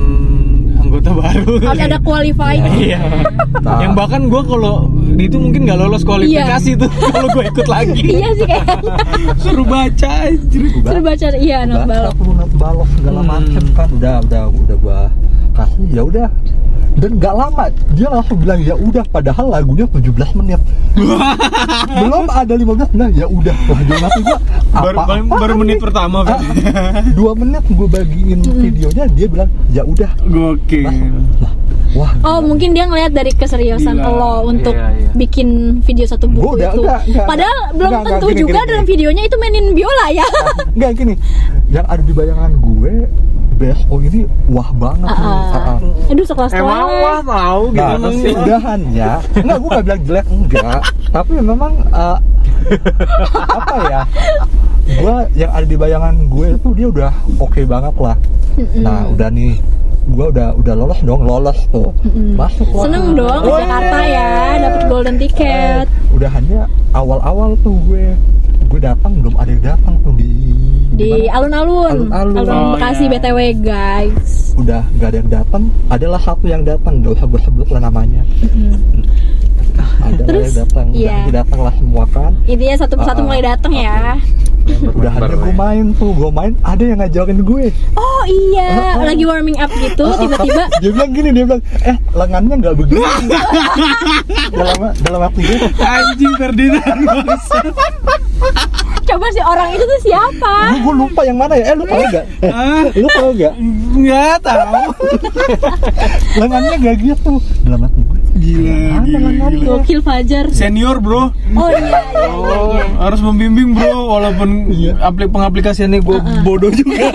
anggota baru.
Harus ada
*laughs*
qualifying.
Iya.
Nah.
Yang bahkan gue kalau di itu mungkin nggak lolos kualifikasi tuh kalau gue ikut lagi.
*laughs* Iya sih
*laughs*
kayaknya.
Seru baca anjir.
Suruh baca iya anak balok.
aku not balok segala
Hmm.
macem kan udah udah udah gua kasih ya udah dan gak lama dia langsung bilang ya udah padahal lagunya 17
*laughs*
menit belum ada 15 menit ya udah lah dia langsung gua
Baru,
apa
baru, baru menit Hmm. pertama Pak.
dua menit gue bagiin videonya dia bilang ya udah Nah,
Gokil.
wah
Oh mungkin dia ngelihat dari keseriusan
Gila.
lo untuk
Iya, iya.
bikin video satu
Gua
buku
udah-
itu.
enggak, enggak.
Padahal belum
Enggak, enggak,
tentu
gini,
juga
gini,
dalam
gini.
videonya itu mainin biola ya.
nggak gini yang ada di bayangan gue BSO ini wah banget nih. *laughs* Ah, ah.
Ah. Aduh sekelas
Emang wah
kelas.
tahu
Nah,
gimana sih?
udahannya Enggak, gue gak bilang jelek, enggak Tapi memang eh, Apa ya Gue, yang ada di bayangan gue tuh dia udah oke banget lah
Mm-mm.
Nah, udah nih Gue udah udah lolos dong, lolos tuh
Mm-mm.
Masuk lah
Hmm. Seneng dong ke
Weh.
Jakarta ya, dapat golden ticket.
Eh, Udahannya awal-awal tuh gue Gue datang, belum ada yang datang tuh di
di
mana?
alun-alun
Oh,
Alun-alun.
Bekasi
iya.
BTW guys
udah gak ada yang datang adalah satu yang datang gak usah gue sebut lah namanya ada lah
Terus,
yang datang
Hmm. iya.
udah datang lah semua kan
intinya satu persatu
Ah,
mulai datang ya
udah ada gue
eh.
main tuh gue main ada yang ngajakin gue
oh iya
Ah, ah.
lagi warming up gitu tiba-tiba
*laughs* dia bilang gini dia bilang eh lengannya nggak begini dalam dalam hati gue
Anjing Ferdinand.
coba si orang itu tuh siapa
gue lupa yang mana ya eh lu tau gak eh,
Ah.
lu tau gak
Enggak tahu.
lengannya gak gitu dalam hati gue
Gila,
Iya,
gila, gila.
gokil Fajar
Senior, Bro.
oh iya iya iya,
Oh,
iya.
harus membimbing bro walaupun
Iya.
aplik pengaplikasiannya gue bodoh
*laughs*
juga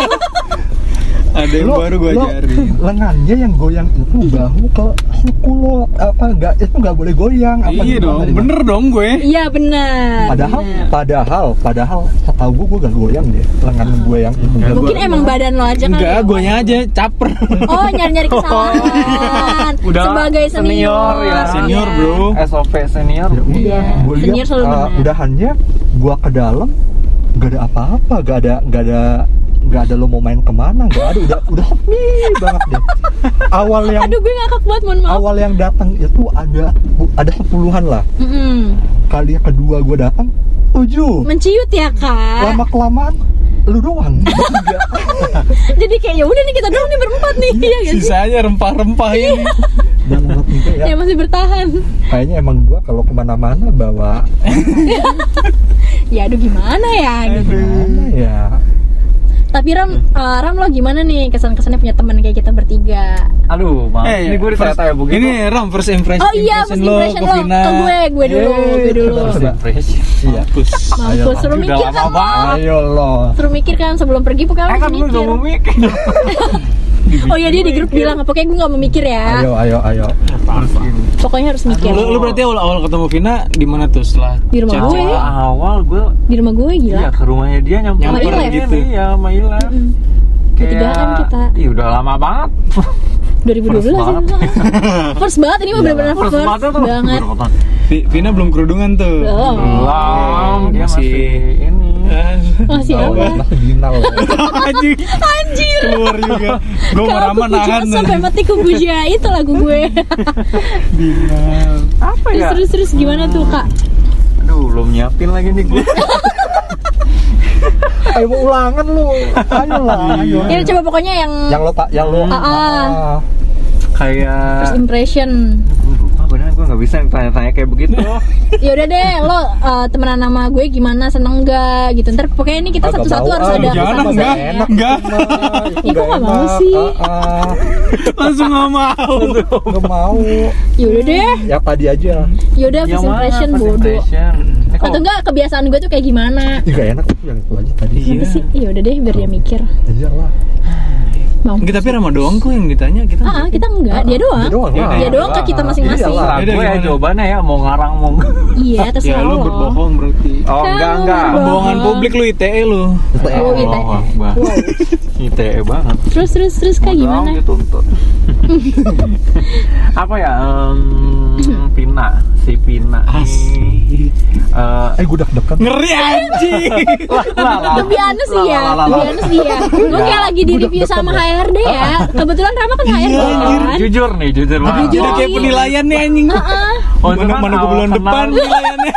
ada yang
Lu-
baru gue
lu
ajarin
lengannya yang goyang itu bahu ke siku lo apa gak itu nggak boleh goyang apa
iya
gimana,
dong
gimana?
bener dong gue
iya benar
Padahal,
benar.
padahal, padahal, setahu gue gue gak goyang deh lengan gue yang itu.
Enggak,
mungkin emang badan lo aja kan
enggak gue aja caper
oh nyari-nyari kesalahan
Udah,
sebagai senior,
senior ya.
Ah,
senior bro
SOP senior.
Ya udah,
Iya,
gue
senior
lihat
selalu
uh,
benar.
udahannya gue ke dalam gak ada apa-apa, gak ada, gak ada, gak ada lo mau main kemana, gak ada, udah, udah sepi banget deh. Awal yang
aduh gue ngakak banget mohon maaf
awal yang datang itu ada ada sepuluhan lah.
Mm-mm.
Kali yang kedua gue datang tujuh.
menciut ya kak
Lama kelamaan lu
*laughs*
doang bertiga.
jadi kayak ya udah nih kita doang nih berempat nih iya gak sih
sisanya rempah-rempah ini
dan menurut gue ya
yang masih bertahan
kayaknya emang gue kalau kemana-mana bawa
ya aduh gimana ya gitu.
gimana ya
tapi Ram eh, Ram lo gimana nih kesan-kesannya punya teman kayak kita bertiga
Aduh, maaf.
Eh,
ini gue
first-
ditanya ya begitu.
ini ram first impression
oh iya first
impression lo
impression
ke
lo
Vina
ke gue gue dulu
Yeay,
gue dulu
coba,
First
coba.
impression.
Iya.
Mampus.
mampus suruh
Udah
mikir
lama
kan lo
Ayo lo.
suruh mikir kan sebelum pergi pokoknya lo
Eh kan
harus
lu udah
mikir
mau mikir.
*laughs* oh iya dia di grup bilang pokoknya gue gak mau mikir ya
Ayo ayo ayo.
pokoknya harus mikir
lu, lu berarti awal awal ketemu Vina di mana tuh setelah
Di rumah
chat-chat?
gue.
Awal gue
di rumah gue gila
Iya ke rumahnya dia nyamper
Nyamper
gini,
gitu.
Iya sama Ilan
Mm-mm. Bertigaan kita.
Ih udah lama banget
2012
First
ya first banget ini mah bener-bener first,
banget tuh
banget
Belum
Vi- Vina belum kerudungan tuh Eh,
Belum.
Iya,
Belum, Dia masih ini
masih
Tahu
apa
ya, masih binal. lo.
anjing anjir keluar juga gue
kalau
mau
aku
rama
puja
nahan
sampai mati ku puja itu lagu gue
Binal.
Apa
terus
ya
terus terus gimana tuh kak
Aduh belum nyiapin lagi nih
*laughs*
gue
Ayo mau ulangan lu. Ayo lah. Ayo.
ya coba pokoknya yang
Iya.
Yang lo tak yang lo.
Ah,
ah.
Ah,
first
Kayak
impression
Gue lupa beneran gue gak bisa yang tanya-tanya kayak begitu
ya udah deh lo uh, temenan sama gue gimana seneng gak gitu ntar pokoknya ini kita
agak
satu-satu
bau,
harus
ah,
ada
jangan,
pesan-pesan
enggak,
ya.
enak. enggak.
*laughs* Ya, kok nggak mau
enak.
sih?
Ah, ah.
langsung nggak mau
Nggak mau.
ya udah deh
Ya tadi aja.
ya udah
Iya,
first impression
first
bodoh
impression? Oh. Ini kalau-
atau enggak kebiasaan gue tuh kayak gimana
Iya.
Ih, Nggak enak tuh yang itu aja tadi.
Apa sih? Ya udah deh biar dia mikir.
Aja lah.
Bang.
Enggak, tapi Rama doang kok yang ditanya kita.
Ah, ah, kita enggak, dia doang.
Dia doang lah. Iya
Dia doang ke kita masing-masing.
Iyalah.
Nah,
Yaudah,
gue ya
gimana?
jawabannya ya mau ngarang mau
Iya,
ya
terserah
lu
lo.
berbohong berarti.
Oh,
Kamu
enggak enggak.
berbohong.
Bohongan publik lu ITE lu.
ITE.
Oh, ITE.
Bohong banget. *laughs* ITE E banget.
Terus terus terus kayak
Mau
gimana?
doang gitu,
*laughs*
tuh. Apa ya? em, Pina, si Pina. ini, eh,
Eh gue deg-degan.
Ngeri anjing.
lah, lah, lah.
Lebih anus sih ya, lebih anus sih ya. Gue kayak lagi di review sama HRD ya.
*laughs*
Kebetulan Rama kan Ah, HRD
Iya, anjir.
kan.
Jujur nih, jujur banget.
Jadi kayak penilaian nih anjing.
Oh,
Oh, mana
cuman
mana
awal
bulan *laughs*
kenal.
depan penilaiannya.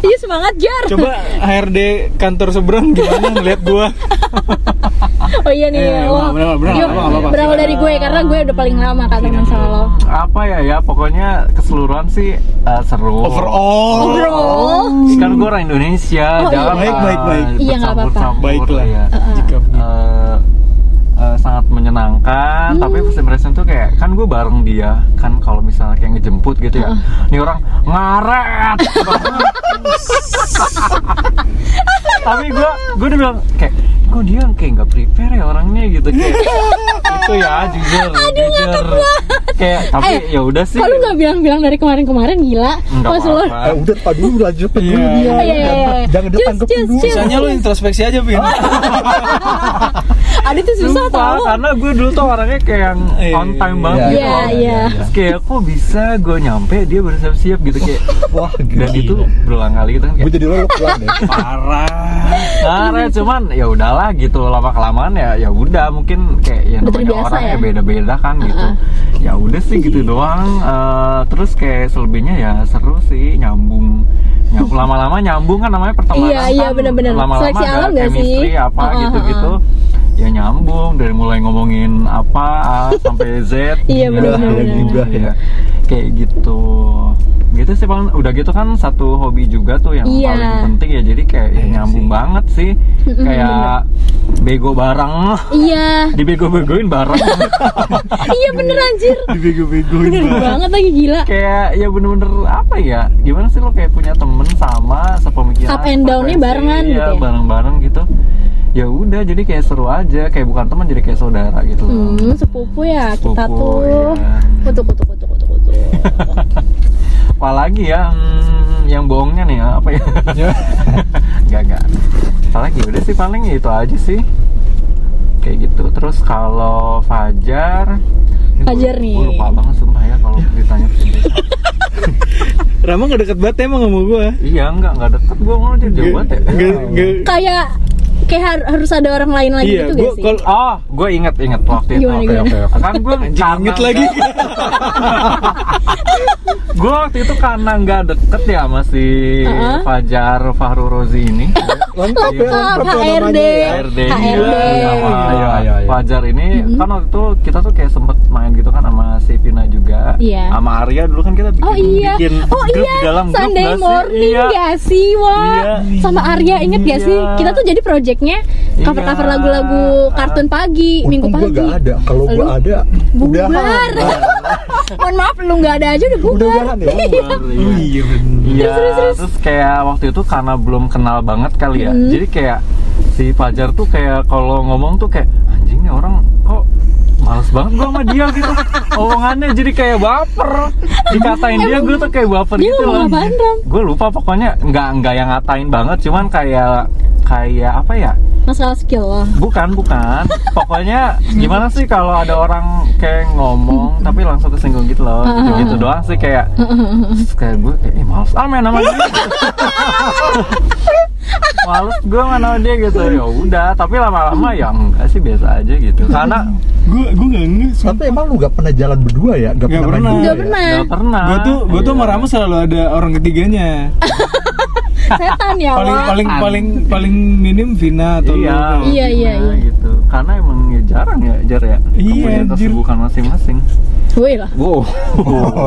Iya semangat Jar.
Coba HRD kantor seberang gimana ngeliat gua.
*laughs* Oh iya nih.
Eh,
wah.
bener, bener,
Yuk,
apa, apa, apa.
Berawal dari gue karena gue udah paling lama kan teman sama lo.
Iya. Apa ya ya pokoknya keseluruhan sih eh, seru.
Overall.
Overall.
Kan gue orang Indonesia,
Oh,
jangan
iya. Baik,
eh,
baik, baik.
Iya, nggak apa-apa.
bercampur-campur,
Baiklah.
ya.
Jika begitu.
eh eh, sangat menyenangkan tapi
Hmm.
first impression tuh kayak kan gue bareng dia kan kalau misalnya kayak ngejemput gitu ya ini orang ngaret *laughs* tapi gue gue udah bilang kayak kok dia kayak nggak prepare ya orangnya gitu kayak itu ya jujur jujur
*laughs*
kayak tapi
Eh,
ya udah sih
Kalau nggak bilang-bilang dari kemarin-kemarin gila.
Nggak
Maksud lo.
apa-apa.
Eh udah tadi dulu lanjutin dulu
Iya.
dia.
Iya, iya, iya.
Jangan- Jangan
Cus,
ditanggepin
cus,
dulu.
cus.
Misalnya lu introspeksi aja, Pin.
Ada tuh susah
Sumpah,
tau.
karena gue dulu tuh orangnya kayak yang
Iya,
on time banget
iya,
gitu
Iya
loh.
iya.
Terus kayak kok bisa gue nyampe dia baru siap-siap gitu
*laughs*
kayak
Wah gila.
dan itu berulang kali gitu kan
Gue
kayak
jadi lo lo pulang deh.
Parah.
ngaret cuman ya udahlah gitu lama kelamaan ya ya udah mungkin kayak ya
Udah
namanya
terbiasa
orang
ya?
ya beda beda kan gitu ya udah sih
*laughs*
gitu doang Eh, terus kayak selebihnya ya seru sih nyambung nyambung lama lama nyambung kan namanya pertemanan
Iya, iya,
kan.
bener-bener.
lama-lama
Seleksi
ada
alam nggak sih?
chemistry apa
Heeh,
gitu gitu ya nyambung dari mulai ngomongin apa A sampai Z
*laughs* Iya,
ya.
bener-bener.
Ada gibah ya.
Iya. kayak gitu gitu sih Bang. udah gitu kan satu hobi juga tuh yang
Iya.
paling penting ya jadi kayak ya
Iya
nyambung
sih.
banget sih
Mm-mm,
kayak bego bareng *laughs*
Iya.
dibego-begoin bareng *laughs*
Iya bener anjir.
Dibego-begoin
Bener banget lagi gila.
kayak ya bener-bener apa ya gimana sih lo kayak punya temen sama sepemikiran
Up and down-nya
frekuensi,
barengan
iya,
gitu ya?
bareng-bareng gitu ya udah jadi kayak seru aja kayak bukan teman jadi kayak saudara gitu loh
Hmm, sepupu ya kita
Sepupu,
tuh.
iya.
Kutu kutu kutu kutu kutu.
apalagi ya hmm, yang bohongnya nih ya, apa ya *laughs* nggak nggak apalagi udah sih paling ya itu aja sih kayak gitu terus kalau Fajar ini gua-
Fajar nih.
gua lupa banget sumpah ya kalau
Iya.
ditanya persentasenya.
Rama gak deket banget emang sama gua.
iya enggak enggak deket gue mau jadi jauh banget ya
Nggak- nggak-
Kayak kayak har- harus ada orang lain lagi
Iya,
gitu
gua
gak sih?
kalau
Oh, gue inget inget waktu itu.
Gimana, gimana?
oke. Kan gue
inget lagi.
gue waktu itu karena nggak deket ya masih
Heeh.
Fajar Fahru Rozi ini.
Uh-huh.
Lengkap ya
Lengkap,
lengkap ya
HRD.
namanya. ya.
HRD.
HRD.
Ayo,
iya,
ayo, ayo.
iya, Fajar ini
Mm-hmm.
kan waktu itu kita tuh kayak sempet main gitu kan sama si Pina juga.
Iya.
Sama Arya dulu kan kita bikin
Oh iya,
bikin
oh
grup
iya,
di dalam grup
Sunday
nggak sih?
morning ya.
Iya.
gak sih, wah
Iya.
sama Arya inget gak
Iya.
sih? Kita tuh jadi projectnya cover cover
Iya.
lagu-lagu kartun pagi, minggu
Untung
pagi.
gue gak ada. Kalau gue
Lu
ada, udah
Bubar. *laughs* Mohon maaf, lu gak ada aja udah
Udah
bubar.
udahan ya.
Iya.
*laughs* Iya bener.
Iya, terus kayak waktu itu karena belum kenal banget kali ya. Jadi kayak si Fajar tuh kayak kalau ngomong tuh kayak anjing nih orang kok males banget gua sama dia *laughs* gitu. Omongannya jadi kayak baper. Dikatain dia gue tuh kayak baper
Dia
gitu
ngomong
loh.
apaan, Ram?
Gue lupa pokoknya nggak nggak yang ngatain banget, cuman kayak kayak apa ya?
Masalah skill lo.
Bukan, bukan. Pokoknya gimana sih kalau ada orang kayak ngomong tapi langsung kesinggung gitu
*laughs*
loh. Gitu, doang sih kayak terus kayak gue kayak "Ih, males ah main sama dia.
*laughs*
males gue main sama dia gitu. Ya udah, tapi lama-lama ya enggak sih biasa aja gitu. Karena
Gua gua enggak nge.
Tapi emang lu gak pernah jalan berdua ya? Gak,
Nggak
pernah. main
pernah.
Gak
berdua
Iya,
ya?
pernah,
enggak pernah.
Gua tuh gua tuh sama
Iya.
Rama selalu ada orang ketiganya.
setan ya
Paling
wah.
paling paling paling minim Vina atau
Iya,
lu.
Iya, iya,
gimana
iya.
gitu. Karena emang ya jarang ya, jar ya.
Iya,
Punya
anjir.
kesibukan masing-masing.
Woi lah.
Wow.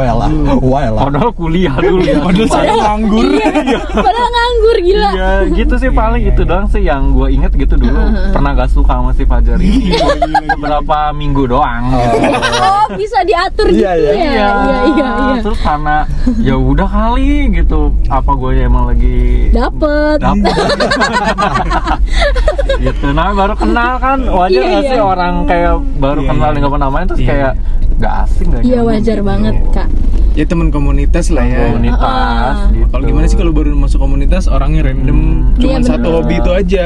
Wela, wela.
*laughs* Padahal kuliah dulu ya.
Padahal saya nganggur.
Iya. Padahal nganggur gila.
Iya, gitu sih paling
iya,
itu doang sih yang gue inget gitu dulu. Pernah gak suka sama si Fajar
*laughs*
ini
Iya.
beberapa minggu doang. gitu.
Oh, bisa diatur
Iya,
gitu ya.
iya.
Iya, iya, iya.
Terus karena ya udah kali gitu. Apa gue emang lagi
Dapet. *laughs*
dapet gitu nah baru kenal kan wajar
Iya,
gak sih
iya.
orang kayak baru
Iya,
kenal
iya.
nggak pernah main terus
Iya.
kayak gak asing gak
Iya,
nyaman
wajar
gitu.
banget, Kak.
*laughs* Ya teman komunitas lah ya.
komunitas
Ah.
gitu.
Kalau gimana sih kalau baru masuk komunitas orangnya random,
Hmm.
cuman
Iya,
satu
bener.
hobi itu aja.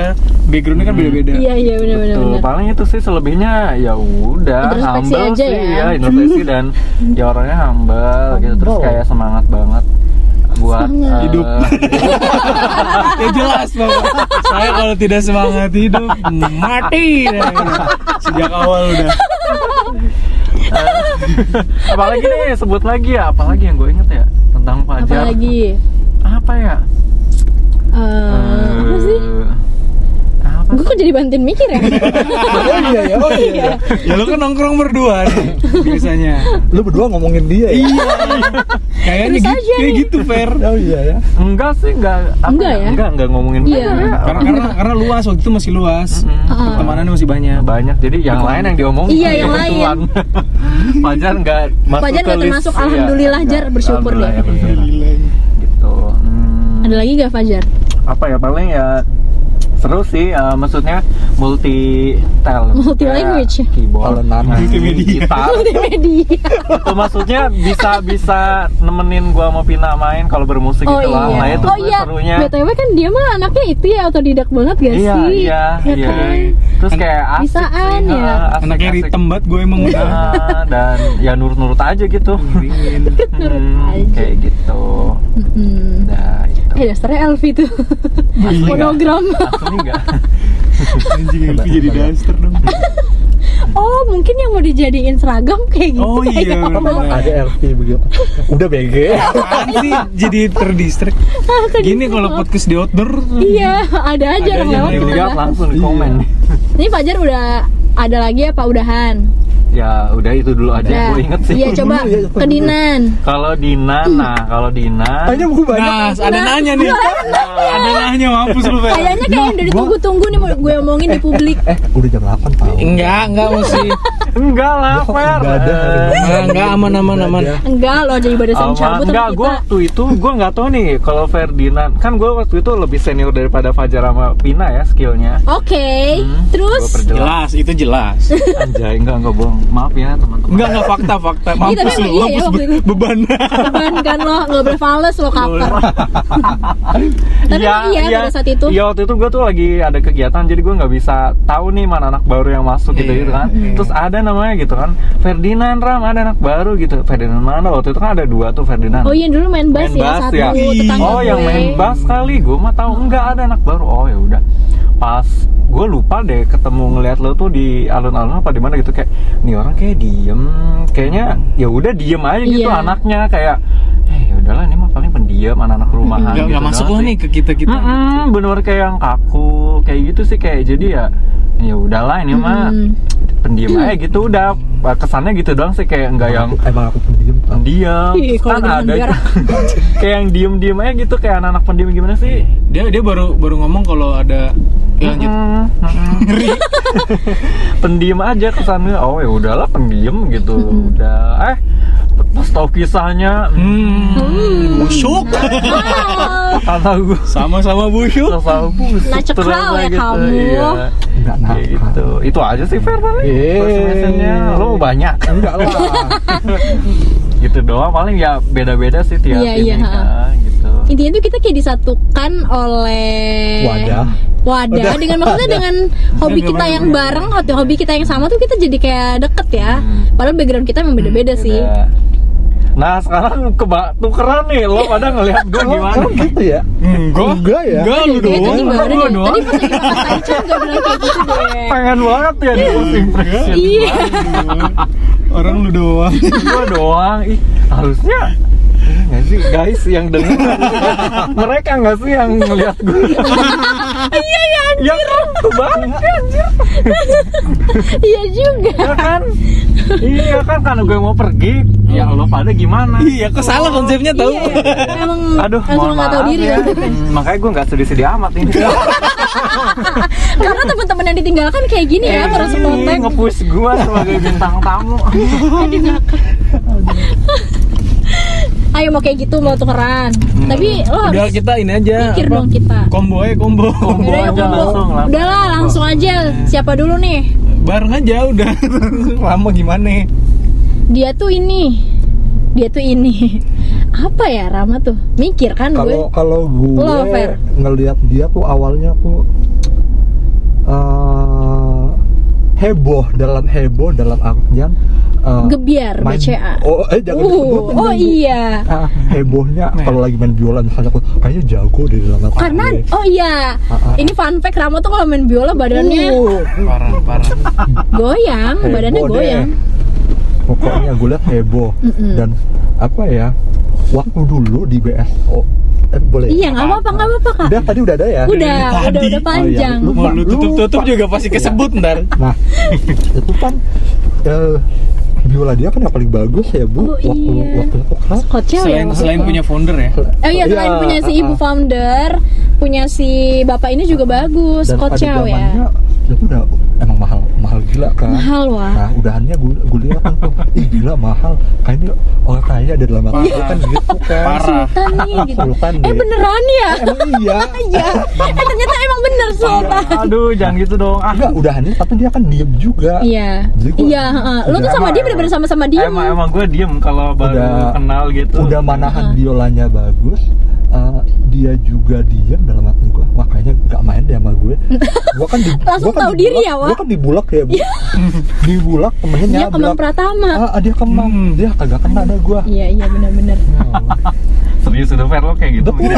Backgroundnya kan beda-beda.
Iya, iya, benar benar
Tuh,
benar.
paling itu sih selebihnya ya udah
Introspeksi
humble
aja
sih
ya.
ya introspeksi dan
*laughs*
ya orangnya humble gitu terus
Humble.
kayak semangat banget buat
Semangat.
eh,
Hidup. ya jelas bahwa saya kalau tidak semangat hidup mati sejak awal udah
*laughs* apalagi nih sebut lagi ya apalagi yang gue inget ya tentang Fajar
Apalagi
apa ya
eh apa sih?
Eh, apa
Gue kok jadi bantuin mikir ya?
*laughs* Oh iya ya, oh iya. ya.
ya lu kan nongkrong berdua nih, biasanya
Lu berdua ngomongin dia ya?
iya kayaknya
Terus
gitu
aja
kayak
nih.
gitu fair
Oh iya ya.
Enggak sih, enggak apa
Enggak ya?
Enggak, enggak ngomongin ya.
Iya.
dia.
karena, karena karena luas waktu itu masih luas
Mm-mm.
pertemanannya masih banyak
Hmm. banyak. Jadi yang
Betul.
lain yang diomongin
Iya, yang
kebetulan. *laughs* Fajar enggak masuk
Fajar
ke
nggak
list.
termasuk,
Iya,
alhamdulillah,
enggak.
Jar, bersyukur
Alhamdulillah,
deh.
ya, bersyukur. Gitu.
*laughs*
Hmm,
Ada lagi gak Fajar?
apa ya paling ya seru sih eh, maksudnya multi talent
Multi
Kayak
language.
keyboard nah,
Talenan.
Multimedia.
gitar
Multimedia.
itu maksudnya bisa bisa nemenin gua mau Pina main kalau bermusik
Oh
gitu lah
iya.
nah itu
oh iya.
serunya
BTW kan dia mah anaknya itu ya otodidak banget gak
iya
sih?
iya
Ya
iya
kan?
terus kayak asik sih,
Bisaan ya.
heeh, asik,
anaknya
asik.
ritem banget gue emang udah
Ah, dan ya nurut-nurut aja gitu
Miringin.
Hmm,
aja.
kayak gitu
Mm-mm.
nah itu
*laughs* Eh dasarnya Elvi tuh
Asli nggak?
Monogram
asli nggak
anjing Elvi jadi daster dong
Oh mungkin yang mau dijadiin seragam kayak gitu
oh iya bener.
Ada RP begitu. Udah BG.
Apaan sih jadi terdistrik gini kalau podcast di outdoor
Iya ada aja
Ada
orang
aja
lewat
yang
gitu
dilihat
kan.
langsung di komen
Ini Fajar udah ada lagi apa udahan?
ya udah itu dulu aja yang gue inget sih
Iya Hmm. coba
Dulu ya, apa
ke
dulu?
Dinan
kalau Dina nah kalau Dina
Tanya buku
Nah,
banyak.
ada nanya nih. Ada nanya mampus lu, Fer.
Kayaknya kayak yang udah ditunggu-tunggu nih mau gue omongin di publik
Eh, udah jam 8 tau.
Enggak, enggak mesti.
enggak lah
Gua
Fer
nggak ada hari ini.
Enggak, enggak aman aman aman.
Enggak loh jadi pada
Aman.
sering cabut
Oh, enggak,
sama
gue
kita
waktu itu gue nggak tahu nih kalau Ferdinand kan gue waktu itu lebih senior daripada Fajar sama Pina ya skillnya.
Oke
Hmm,
Terus
gua
*laughs*
perjelas.
Jelas, itu jelas.
Anjay, enggak enggak bohong. Maaf ya teman-teman.
Enggak, enggak fakta fakta. Mampus
tapi emang iya
lu,
ya
mampus
waktu
be-
itu.
beban.
Beban kan lo nggak boleh fales lo cover *laughs* Tapi emang iya pada saat itu.
Iya waktu itu gue tuh lagi ada kegiatan jadi gue nggak bisa tahu nih mana anak baru yang masuk gitu
Iya,
gitu kan.
iya.
Terus ada namanya gitu kan. Ferdinand Ram ada anak baru gitu. Ferdinand mana waktu itu kan ada dua tuh Ferdinand.
Oh iya dulu main bass
Main
ya
bass
satu
ya?
tetangga
Oh yang
gue.
main bass kali, gue mah tahu enggak ada anak baru. Oh ya udah. Pas gue lupa deh ketemu ngeliat lo tuh di alun-alun apa di mana gitu kayak nih orang kayak diem, kayaknya ya udah diem aja gitu
Iya.
anaknya kayak eh ya udahlah ini mah paling pendiam anak-anak rumahan
Enggak,
gitu
enggak masuk
doang
lo
sih.
nih gitu. ke kita-kita.
Mm-mm, bener kayak yang kaku kayak gitu sih kayak jadi ya ya udahlah ini mah
Hmm.
pendiam aja gitu udah kesannya gitu doang sih kayak enggak yang
Aku- Emang aku pendiam tau.
pendiam
Ih, kalau
kan
dengan
ada
biar-
*laughs* kayak yang diem diem aja gitu kayak anak-anak pendiam gimana sih
Dia dia baru baru ngomong kalau ada ya, lanjut.
Mm, mm. *laughs* pendiam aja kesannya oh ya udahlah pendiam gitu
Hmm.
udah eh pas tahu kisahnya mm,
Hmm, busuk.
Mm.
kata gue
Sama-sama busuk.
selalu busuk
Nacek kau
terus
Nah, ya
gitu,
kamu.
iya.
Enggak
Kayak
nakal.
gitu itu aja sih Fer paling
Yeay.
first impression-nya. lo banyak
Enggak lah.
gitu doang paling ya beda-beda sih tiap
Iya,
ini
iya, ha.
kan, gitu
Intinya tuh kita kayak disatukan oleh
Wadah.
Wadah
Wadah.
dengan maksudnya dengan hobi
Dengan
kita
bareng-
yang bareng atau hobi kita yang sama tuh kita jadi kayak deket ya.
Hmm.
Padahal background kita memang beda-beda sih.
Beda. Nah sekarang keba tukeran nih lo pada ngelihat gue
Oh,
gimana?
oh, gitu ya?
Enggak.
Enggak ya?
Enggak lu
Kayaknya Iya,
doang.
tadi baru
lu
deh.
doang.
Tadi pas lagi pas Aicha juga bilang kayak gitu deh.
Pengen banget ya di first impression.
Iya.
Orang lu doang.
Gue doang. Ih harusnya ini nggak sih guys yang denger mereka nggak sih yang ngeliat gue iya ya yang tuh banget anjir
*laughs* iya juga
ya kan iya kan karena gue mau pergi ya lo pada gimana
Iya, kok salah konsepnya tahu?
Iya, emang
aduh
langsung
mohon
nggak tahu
maaf
diri
ya.
ya.
Hmm, makanya gue nggak sedih-sedih amat ini
karena teman-teman yang ditinggalkan kayak gini ya para
Ih,
kontak
nge-push gue sebagai bintang tamu
ayo mau kayak gitu mau tukeran
Hmm.
tapi lo
Udah
harus
kita ini aja.
pikir
apa,
dong kita
Kombo aja kombo.
Kombo.
Udah,
aja
yuk, Bo.
langsung, Iya. langsung.
Udah lah langsung aja siapa dulu nih
Bareng aja udah. Lama gimana?
dia tuh ini dia tuh ini *laughs* apa ya Rama tuh mikir kan
kalau
gue
kalau gue
Lo, Fer.
ngelihat dia tuh awalnya tuh eh, heboh dalam heboh dalam artian eh,
gebiar
main-
BCA
oh eh jangan
Uh,
disebutin
oh
dong, Bu.
iya
Ah, hebohnya
Nah.
kalau lagi main biola misalnya aku kayaknya jago di dalam artian
karena
dia.
oh iya
Ah, ah,
ini fun fact Rama tuh kalau main biola badannya
Uh, ah,
Parah, parah.
goyang
Heboh
badannya
deh.
goyang
pokoknya gue liat heboh
Mm-mm.
dan apa ya waktu dulu di BSO eh, boleh
iya nggak apa-apa nggak apa-apa kak
udah tadi udah ada ya
udah
Tadi.
udah udah panjang
Oh, iya.
Mau lu
Lupa,
tutup-tutup
lupa.
juga pasti kesebut ntar.
Iya, *laughs*
Nah, itu kan eh, biola dia kan yang paling bagus ya bu
Oh,
waktu
iya.
waktu itu kelas.
kocel ya
Selain
waktu
selain
itu.
punya founder ya.
Oh iya, selain
Iya,
punya si
ah,
ibu
ah.
founder, punya si bapak ini juga bagus,
Dan pada
kocel
zamannya
ya.
dia tuh udah emang mahal mahal gila kan.
Mahal wah.
Nah, udahannya gue gue lihat kan tuh, ih gila mahal. Kayak ini orang kaya ada dalam
Iya.
hati
Parah.
kan gitu kan.
Parah.
Sultan
*laughs*
nih gitu.
Sultan
Eh
deh.
beneran ya?
*laughs* Emang
*laughs*
iya.
Iya. eh ternyata emang bener Sultan.
aduh jangan gitu dong ah
Enggak, udahannya tapi dia kan diem juga.
Iya.
Jadi gua-
Iya, heeh. Lu tuh
Udah,
sama
emang,
dia bener-bener
emang.
sama-sama dia.
Emang emang gue diem kalau baru
Udah-
kenal gitu.
Udah manahan biolanya bagus. eh, dia juga diam dalam hati gue makanya gak main deh sama
*laughs*
gue gue kan di,
Langsung
gua kan
tahu diri
dibulak-
ya, Wak? Iya.
gua kan dibulak ya bu *laughs* dibulak temennya
Dia
nyablak.
Iya, kembang Pratama.
Iya, ah, ah, dia kemang
Hmm.
dia kagak kena ada gue
Iya, iya bener-bener.
serius udah fair lo kayak gitu. *laughs*
Betul.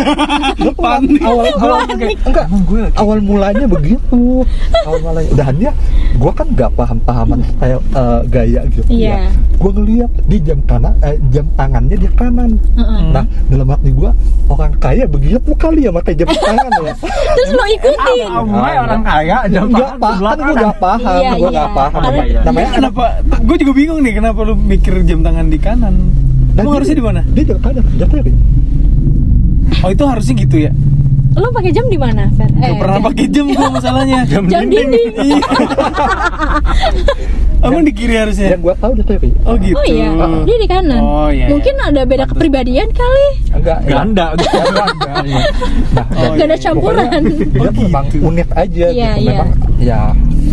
depan awal awal enggak
Emang gue
awal mulanya begitu awal mulanya udahan dia gue kan gak paham pahaman style eh, gaya gitu
Iya.
gue ngeliat di jam kanan eh, jam tangannya dia kanan
Heeh.
nah dalam hati gue orang kaya begitu kali ya pakai jam tangan ya
Terus lo ikutin.
Ah, mulai orang kaya jam
nggak paham kan gue nggak paham
Iya,
gue
iya.
nggak paham
Karena-
namanya- namanya anak
Kenapa? Gue juga bingung nih kenapa lu mikir jam tangan di kanan.
Nah,
Emang
dia-
harusnya di mana?
dia jam kanan jam kiri
Oh itu harusnya gitu ya.
Lo pakai jam di mana, Fer?
Gak pernah pakai jam
*laughs*
gue masalahnya. Jam
Eh, Jam dinding. dinding.
Iya. Emang di kiri harusnya.
yang gue tahu dia kiri
Oh gitu.
Oh iya, dia di kanan.
Oh, iya, iya.
Mungkin ada beda
Pantes.
kepribadian kali.
enggak ya.
ganda.
nah
Oh,
Gak ada
iya, iya.
campuran.
dia
Oh,
tuh memang
gitu.
unik aja
Iya,
gitu
iya. Hmm.
memang ya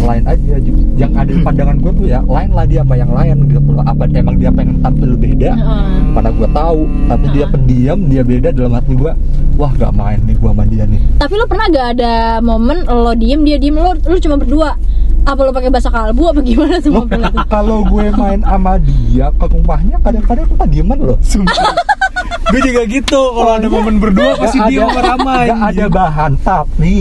lain aja ju- yang ada di pandangan gue tuh ya lain lah dia sama yang lain gitu loh apa emang dia pengen tampil beda
Heeh.
mana gue tahu tapi
Oh.
dia pendiam dia beda dalam hati gue wah gak main nih gue sama
*laughs*
dia nih
Tapi lo pernah gak ada momen lo diem, dia diem, lo, lo cuma berdua? Apa lo pakai bahasa kalbu apa gimana tuh
Loh,
momen lo tuh?
kalau gue main sama dia ke rumahnya kadang-kadang kita dieman loh
Gue juga gitu. Kalau ada momen berdua pasti
Nggak
dia
ada-
ramai.
nggak ada bahan tapi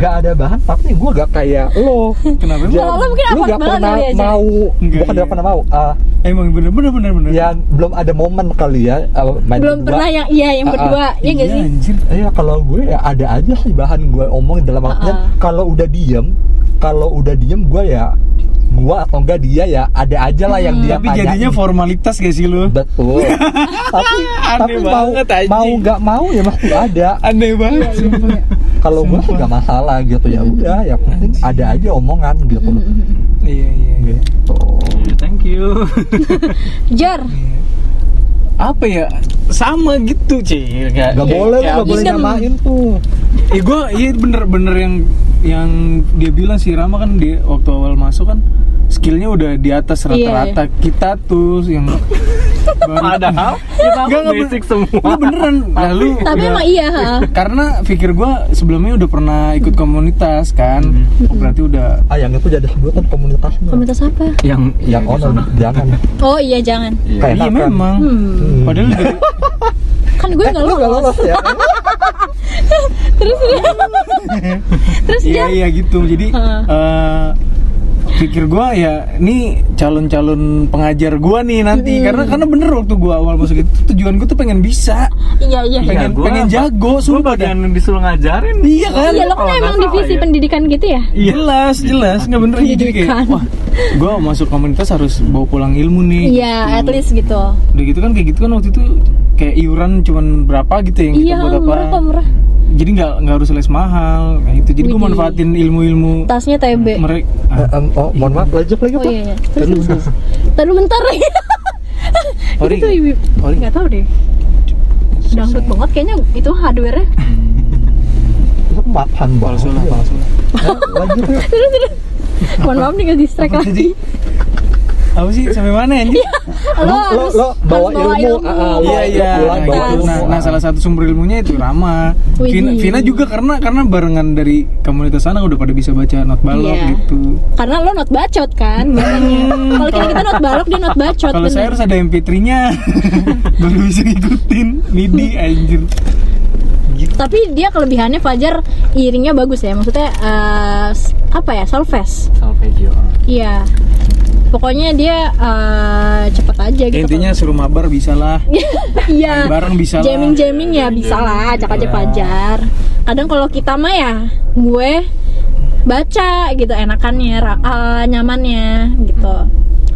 gak ada bahan tapi gue gak kayak lo
Kenapa? emang?
*laughs* Kalau lo mungkin
lu
apart
gak
banget
pernah
kali ya, Jack.
mau
Nggak,
bukan
iya.
gak pernah mau ah,
Eh, Emang bener bener bener bener.
yang Ya, belum ada momen kali ya ah, main
Belum
berdua.
pernah yang iya yang
Ah, ah.
berdua, ya gak
Iya,
sih?
anjir.
Iya kalau gue ya ada aja sih bahan gue omongin dalam artian
Ah, ah.
kalau udah diem, kalau udah diem gue ya gue atau enggak dia ya ada aja lah yang dia
Tapi jadinya
tanyain.
formalitas gak sih lu? *laughs*
betul. tapi
Aneh
tapi mau
banget, anjing.
mau nggak mau ya masih ada.
Aneh
Iya,
banget.
iya, iya.
Kalau gue sih nggak masalah gitu ya
Hmm.
udah ya penting ada aja omongan gitu. loh.
Iya iya. iya.
Gitu.
Thank you.
Jar,
Apa ya? Sama gitu cie. Gak,
Iya,
Gak boleh lu
kayak
nggak boleh
Idem.
nyamain tuh.
Eh gue iya bener-bener yang yang dia bilang si Rama kan dia waktu awal masuk kan skillnya udah di
Iya,
atas rata-rata kita tuh yang
Padahal kita
Nggak, nggak
basic
bener-
semua.
Nggak, beneran nah, lu
tapi
udah-
emang iya ha.
karena pikir gue sebelumnya udah pernah ikut komunitas kan Oh, berarti udah
Ah yang itu jadi sebutan komunitasnya.
Komunitas apa?
Yang
yang ono jangan.
Oh iya jangan.
Kayak
iya
nakal.
memang
Hmm.
Hmm.
padahal dari,
Kan gue
Eh,
gak
lu nggak
lolos.
lolos ya.
Terus dia. Terus
iya
Jar.
iya gitu jadi
Heeh.
eh, pikir gua ya ini calon-calon pengajar gua nih nanti karena karena bener waktu gua awal masuk itu tujuan gua tuh pengen bisa
Iya iya.
Pengen-
gua-
pengen jago,
gua
sumpah
bagian yang disuruh ngajarin
iya kan
Iya
Iya.
lo
Kalau
kan
nggak
emang
salah
divisi
ya.
pendidikan gitu ya?
jelas jelas nggak
Iya,
bener ya jadi kayak
Pendidikan.
wah gua masuk komunitas harus bawa pulang ilmu nih
Iya, at
Gitu.
least gitu.
udah gitu kan kayak gitu kan waktu itu kayak iuran cuman berapa gitu yang kita
Iya,
buat apa
murah kok murah.
jadi nggak nggak harus les mahal kayak gitu jadi gua
Widih.
manfaatin ilmu-ilmu Ah,
Tasnya TB.
mereka
Eh, em, oh, mohon maaf, lanjut lagi
Oh
apa?
iya. iya.
Kan lu-
Terus, terus, terus. Ntar dulu *laughs* bentar.
Ori
itu
nggak?
Gitu, ibu.
Ori
Enggak tahu deh. Dangdut banget kayaknya itu hardware-nya.
Lu mapan banget.
palsu lah palsu lah
Eh, Lanjut yuk.
Mohon maaf nih nge-distract
Apa
lagi.
apa sih sampai mana
Lo
anjir
Lo- lo-
harus
lo bawa
harus bawa
ilmu,
Iya
ah, ah, Bawa
iya.
ilmu pulang, bawa
Nah,
ilmu.
Nah, nah, salah satu sumber ilmunya itu Rama.
Widih.
Vina, Vina juga karena karena barengan dari komunitas sana udah pada bisa baca not balok
Iya.
gitu.
Karena lo not bacot kan biasanya. Kalau kita kita not balok dia not bacot.
Kalau saya
bener.
harus ada MP3-nya *laughs* baru bisa ngikutin MIDI anjir.
Tapi dia kelebihannya Fajar iringnya bagus ya. Maksudnya eh, s- apa ya? Solfes.
Solfeggio.
Iya. Pokoknya dia eh, cepet aja gitu.
Intinya suruh mabar bisa lah.
iya
Bareng bisa lah.
jamming jamming ya bisa lah ajak
Iya.
aja pajar kadang kalau kita mah ya gue baca gitu enakannya ra- eh, nyamannya gitu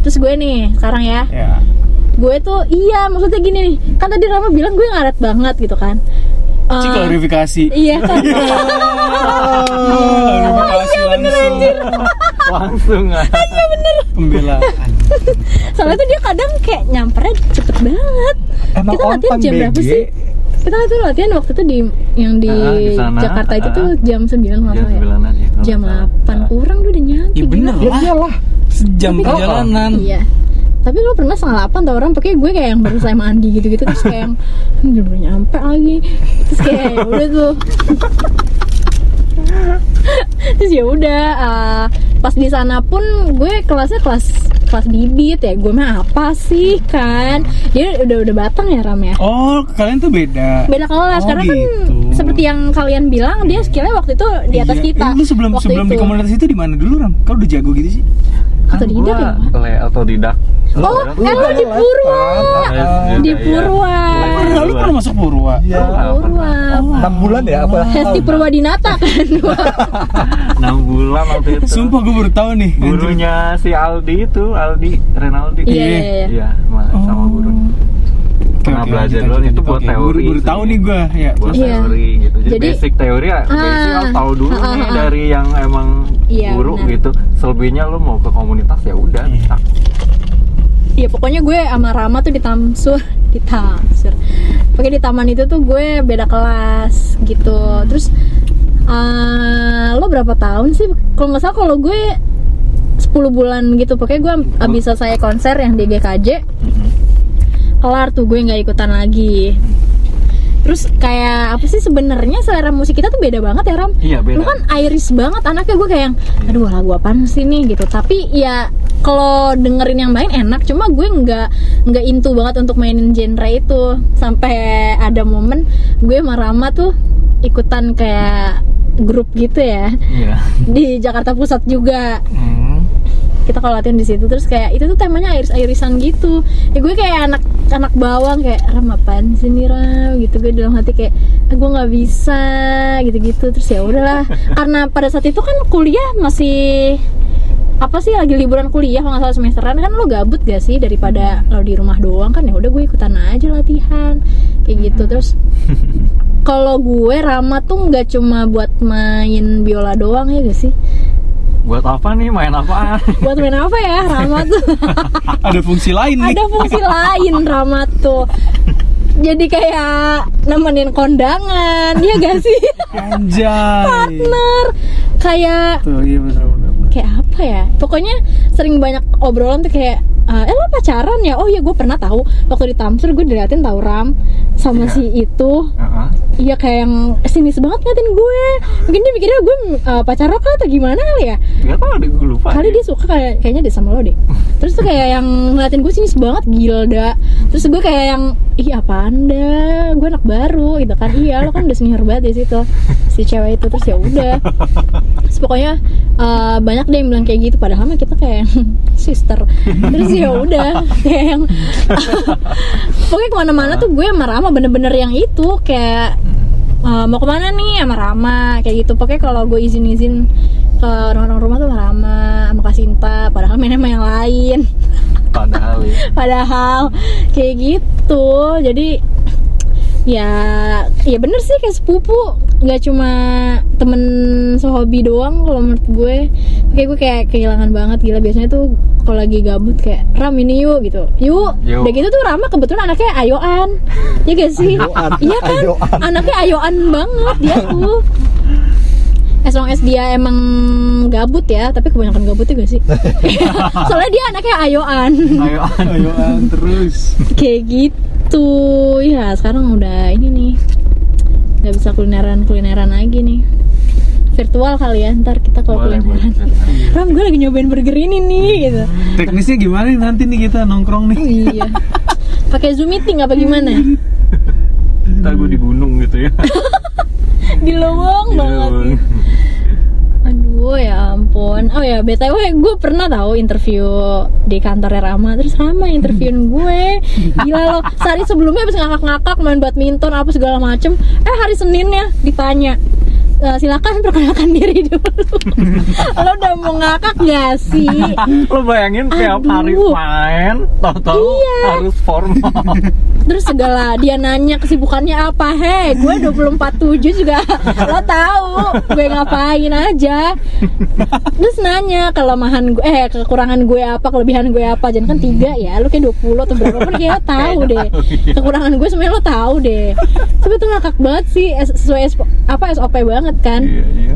terus gue nih sekarang ya
Ya.
gue tuh iya maksudnya gini nih kan tadi Rama bilang gue ngaret banget gitu kan Eh,
Cik klarifikasi.
iya
*laughs*
kan
Klarifikasi langsung.
Langsung ah.
*laughs* Pembelaan.
soalnya tuh dia kadang kayak nyampernya cepet banget
Emang
kita latihan
on
jam
time,
berapa
BG.
sih kita tuh latihan waktu itu di yang di,
Ah, di sana.
Jakarta itu
Ah.
tuh jam 9 nggak
Jam
salah ya
sembilanan ya. kalau
jam Oh,
nggak salah.
8 kurang tuh udah nyampe
Ya
gila.
bener
Ya
lah.
iyalah.
Sejam perjalanan.
Oh, iya tapi lo pernah setengah 8 tau orang pakai gue kayak yang baru saya mandi gitu-gitu terus kayak yang "Hmm, udah belum nyampe lagi terus kayak ya udah tuh *laughs* terus ya udah eh, pas di sana pun gue kelasnya kelas kelas bibit ya gue mah apa sih kan dia udah udah batang ya ram ya
Oh, kalian tuh beda.
beda kelas
Oh,
karena kan
gitu.
seperti yang kalian bilang dia skillnya waktu itu di atas
Iya.
kita
Eh, Lu sebelum
waktu
sebelum di
itu.
komunitas itu di mana dulu, Ram? Kau udah jago gitu sih?
Kan
Atau didak
gua
ya, Mak?
le- Autodidak.
Oh, kan lo di Purwa.
Iya,
Di Purwa.
Pernah lu kan pernah masuk Purwa?
Iya.
Purwa.
6 bulan ya apa?
Hesti Purwadinata kan.
enam bulan waktu itu.
Sumpah gue baru tahu nih. anjir.
gurunya si Aldi itu Aldi Renaldi
Iya, iya, iya.
iya ma- sama
Oh.
gurunya
Oke,
Pernah
oke,
belajar
lanjut,
dulu,
lanjut,
itu
lanjut.
buat
Oke,
teori
Baru, baru
sih.
tahu nih gue ya.
buat
Iya.
teori gitu jadi,
Jadi-
basic teori ya basic
Ah,
harus tahu dulu
ah, ah,
nih
ah.
dari yang emang
Iya,
guru
benar.
gitu selebihnya lu mau ke komunitas ya udah
Iya.
tak.
Iya pokoknya gue sama Rama tuh di Tamsur, di Tamsur. Pokoknya di taman itu tuh gue beda kelas gitu. Terus eh, lo berapa tahun sih? Kalau nggak salah kalau gue 10 bulan gitu. Pokoknya gue abis selesai konser yang di GKJ. Kelar tuh gue nggak ikutan lagi. Terus kayak apa sih sebenarnya selera musik kita tuh beda banget ya Ram?
iya beda
lu kan Iris banget anaknya gue kayak yang aduh lagu apaan sih nih gitu tapi ya kalau dengerin yang main enak cuma gue nggak nggak into banget untuk mainin genre itu sampai ada momen gue sama Rama tuh ikutan kayak grup gitu ya
iya Hmm.
di Jakarta Pusat juga kita kalau latihan di situ terus kayak itu tuh temanya iris irisan gitu ya gue kayak anak anak bawang kayak ram apaan sih nih ram gitu gue dalam hati kayak "Ah, gue nggak bisa gitu gitu terus ya udahlah karena pada saat itu kan kuliah masih apa sih lagi liburan kuliah kalau nggak salah semesteran kan lo gabut gak sih daripada lo di rumah doang kan ya udah gue ikutan aja latihan kayak gitu terus kalau gue Rama tuh nggak cuma buat main biola doang ya gak sih
buat apa nih main apaan
buat main apa ya Rama tuh
Ada fungsi lain nih.
ada fungsi lain Rama tuh jadi kayak nemenin kondangan ya gak sih
Anjay.
partner kayak
Tuh, iya benar benar.
kayak apa ya pokoknya sering banyak obrolan tuh kayak "Eh, eh lo pacaran ya oh iya gue pernah tahu waktu di Tamsur gue diliatin tahu Ram sama
Iya.
si itu
Heeh.
Iya kayak yang sinis banget ngatin gue Mungkin dia mikirnya gue eh, pacar lo kah atau gimana kali ya
Gak tau deh, gue lupa
Kali dia suka kayak, kayaknya dia sama lo deh Terus tuh kayak yang ngeliatin gue sinis banget Gilda Terus gue kayak yang Ih apaan dah Gue anak baru gitu kan Iya lo kan udah senior banget di situ Si cewek itu Terus ya udah Terus pokoknya eh, banyak deh yang bilang kayak gitu padahal mah kita kayak *laughs* sister terus ya udah kayak yang *laughs* pokoknya kemana-mana tuh gue sama Rama bener-bener yang itu kayak eh, mau kemana nih sama Rama kayak gitu pokoknya kalau gue izin-izin ke orang-orang rumah tuh sama Rama sama Kasinta padahal mainnya sama yang lain
Padahal ya
padahal kayak gitu jadi ya ya bener sih kayak sepupu nggak cuma temen sehobi doang kalau menurut gue kayak gue kayak kehilangan banget gila biasanya tuh kalau lagi gabut kayak ram ini yuk gitu yuk
Yuk.
udah gitu tuh Rama kebetulan anaknya ayoan ya gak sih
Ayoan,
iya kan
ayoan.
anaknya ayoan banget dia tuh as long as dia emang gabut ya tapi kebanyakan gabut juga
*laughs*
sih soalnya dia anaknya ayoan
Ayo
Ayoan terus.
kayak gitu ya sekarang udah ini nih nggak bisa kulineran kulineran lagi nih virtual kali ya ntar kita kalau
Boleh, boleh
kulineran *laughs* Ram gue lagi nyobain burger ini nih gitu
Teknisnya gimana nih nanti nih kita nongkrong nih?
iya pakai zoom meeting apa gimana
Ntar gue di gunung
*laughs* Iya,
gitu ya Iya,
di lowong banget
Gunung.
aduh ya ampun oh ya btw gue pernah tahu interview di kantornya Rama terus Rama interviewin gue gila loh sehari sebelumnya habis ngakak-ngakak main badminton apa segala macem eh hari Seninnya ditanya "E, silakan perkenalkan diri dulu *laughs* lo udah mau ngakak gak sih
Lo bayangin tiap hari
Aduh.
main Tau-tau
Iya.
harus formal
terus segala dia nanya kesibukannya apa hei gue 24-7 juga lo tahu gue ngapain aja terus nanya kelemahan gue eh kekurangan gue apa kelebihan gue apa jangan kan tiga ya lo kayak 20 atau berapa pun
*laughs*
kayak lo tahu deh
iya.
kekurangan gue sebenarnya lo tahu deh tapi tuh ngakak banget sih es- sesuai es- apa SOP banget kan
Iya, iya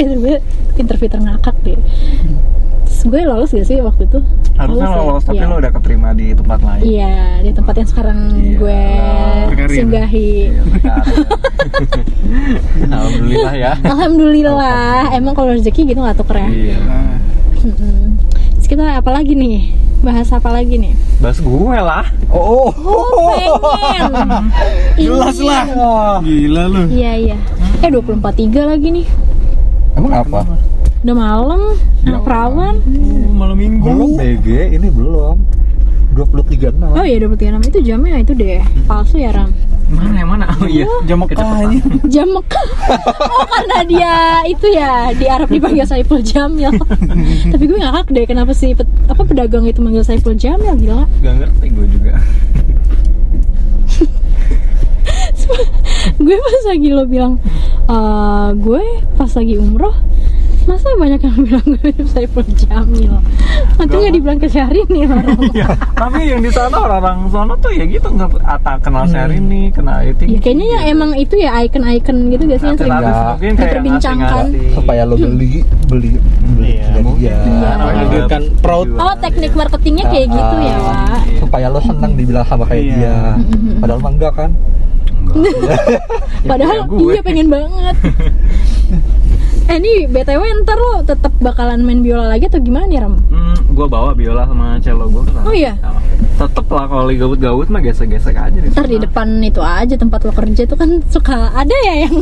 itu gue interview terngakak deh terus gue lolos gak sih waktu itu
Harusnya
ya?
lo lolos, tapi
Iya.
lo udah keterima di tempat lain
Iya, di tempat yang sekarang
Iya.
gue
Berkarir.
singgahi.
Iya, benar. Alhamdulillah ya
Alhamdulillah, emang kalau rezeki gitu ngatur ya.
Iya
Nah,
Mm-mm. Terus kita apa lagi nih? Bahas apa lagi nih?
Bahas gue lah
Oh, oh, oh.
Pengen.
jelas
Ingin.
lah.
Ah,
Gila lu.
Iya iya. Eh 24.3 lagi nih.
Emang apa?
Udah malam, anak perawan.
Uh, malam minggu.
Belum BG, ini belum 23 enam.
Oh iya 23.6 itu jamnya itu deh. Palsu ya Ram.
Mana yang mana? Oh iya
Jam makannya.
Jam
*laughs*
Mekah. Oh karena dia itu ya di Arab dipanggil Saiful
*laughs*
Jamil. Tapi gue ngakak deh kenapa sih pet- apa pedagang itu manggil Saiful Jamil gila.
Gak ngerti gue juga
gue pas lagi lo bilang "Eh, gue pas lagi umroh masa banyak yang bilang gue Saiful Jamil atau nggak dibilang ke
*laughs*
Syahrini orang
Iya, tapi yang di sana orang-orang sana tuh ya gitu nggak ata kenal Syahrini, kenal itu.
ya, Hmm. kayaknya ya emang itu ya icon-icon gitu gak sih yang sering
Artis-artis
mungkin kayak
diperbincangkan.
ngasih-ngasih.
Supaya lo beli beli beli
Iya,
dari
mungkin.
dia.
Namanya
Iya.
dia kan proud.
oh teknik marketingnya kayak gitu ya
Ah,
Wak
Ah. Supaya lo senang dibilang sama kayak
Iya.
dia. Padahal mah enggak kan?
padahal
kayak Ya, gue.
iya pengen
*laughs*
banget eh ini btw ntar lo tetap bakalan main biola lagi atau gimana nih Ram
Hmm, gue bawa biola sama cello gue ke sana.
Oh iya?
Sama. Tetep lah kalau lagi gabut-gabut mah gesek-gesek aja di
ntar di
sana.
depan itu aja tempat lo kerja itu kan suka ada ya yang
*laughs*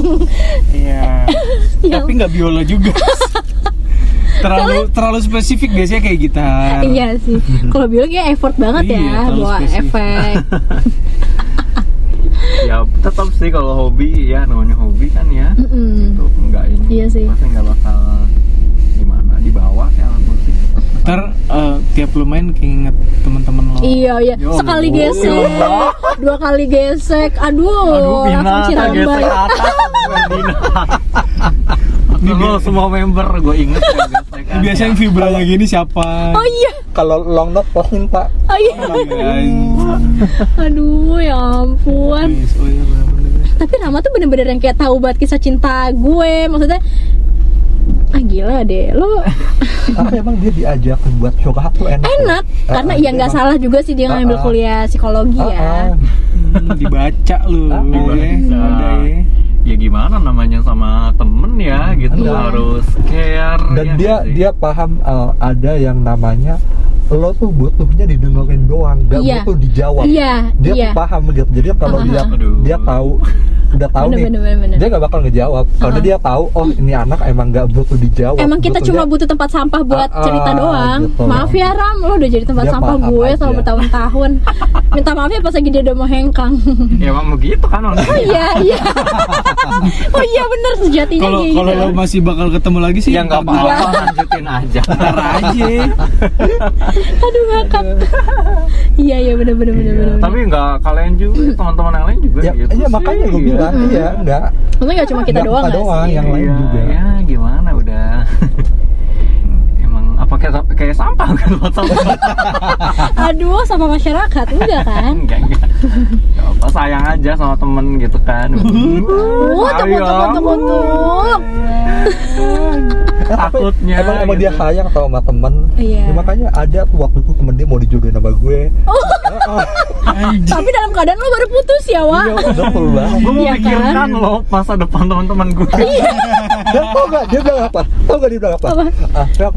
Iya.
yang
Ya
Tapi nggak biola juga. terlalu terlalu spesifik biasanya kayak
Nah.
gitar.
*laughs* Iya sih. Kalau biola kayak effort banget ya
Iya, terlalu
bawa
spesifik.
*laughs*
efek.
Ya tetep sih kalau hobi ya namanya hobi kan ya.
Mm-mm.
Itu enggak ini.
Iya sih.
Pasti enggak bakal gimana dibawa kayak alat musik.
Ntar eh, tiap lu main keinget teman-teman lo.
Iya iya.
Ya
Sekali
Allah.
gesek, dua kali gesek. Aduh,
Aduh, Bina,
langsung cirambai.
tak gesek atas. bukan Bina. Lo semua member gue inget ya, gesekan.
Iya.
Biasanya yang vibra lagi ini siapa?
Oh iya,
Kalau long note posting Pak.
oh iya. Aduh, ya ampun.
Yes, oh iya, bener-bener.
Tapi Rama tuh bener-bener yang kayak tahu banget kisah cinta gue. Maksudnya, ah gila deh,
*laughs*
lo
Karena emang dia diajak buat show aku enak.
enak. Karena
Ah,
iya
dia
nggak
emang-
salah juga sih dia ngambil
Ah, ah.
kuliah psikologi
Ah,
Oh,
ya.
ah.
Hmm, dibaca lu.
Dibaca. Iya,
ya. Ada ya.
ya gimana namanya sama temen ya gitu
Iya.
harus care
dan
ya
dia
nggak sih?
dia paham eh, ada yang namanya lo tuh butuhnya didengerin doang gak
Iya.
butuh dijawab
Iya,
dia
iya. Ah,
tuh paham gitu jadi kalau dia
Aduh.
dia tahu udah tahu
Bener,
nih
bener, bener, bener. Ah,
dia gak bakal ngejawab karena dia tahu oh ini anak emang gak butuh dijawab
Emang kita cuma
butuhnya-
butuh tempat sampah buat
Ah, ah,
cerita doang.
gitu.
Maaf ya Ram, lo udah jadi tempat
Dia
sampah
paham
gue
aja.
selama
*laughs*
bertahun-tahun. Minta maaf ya pas lagi dia udah mau hengkang. *laughs*
ya emang begitu kan orang
oh iya,
*laughs*
iya. oh iya bener sejatinya
Kalau
kayak
kalau
gitu.
lo masih bakal ketemu lagi sih
ya nggak
ntar-
apa-apa lanjutin aja
ntar aja.
Aduh ngakak. iya iya bener bener bener bener.
tapi nggak kalian juga teman-teman yang lain juga
ya,
gitu
iya
sih.
makanya gue bilang iya enggak
Tapi nggak cuma kita
Nggak
doang. kan?
Iya, kita
nggak
doang
sih?
yang lain
Iya,
juga
ya gimana udah *laughs* emang apa kayak kayak sampah kan buat
*laughs*
sampah
Aduh sama masyarakat enggak
*laughs*
kan?
enggak enggak Nggak apa sayang aja sama temen gitu kan
*laughs*
Oh, tepuk
Sayang.
tepuk tepuk tepuk.
Eh, tapi
Takutnya,
emang, emang dia
gitu.
sayang tau sama temen
Iya.
Ya, makanya ada tuh waktu itu temen dia mau dijodohin sama gue
Tapi dalam keadaan lo baru putus ya, Wak.
iya betul banget
gue mau
Iya kan?
pikirkan loh masa depan teman-teman gue
Iya. *laughs* Dan tau gak dia bilang apa? Tau gak dia bilang apa? Ah, Fel,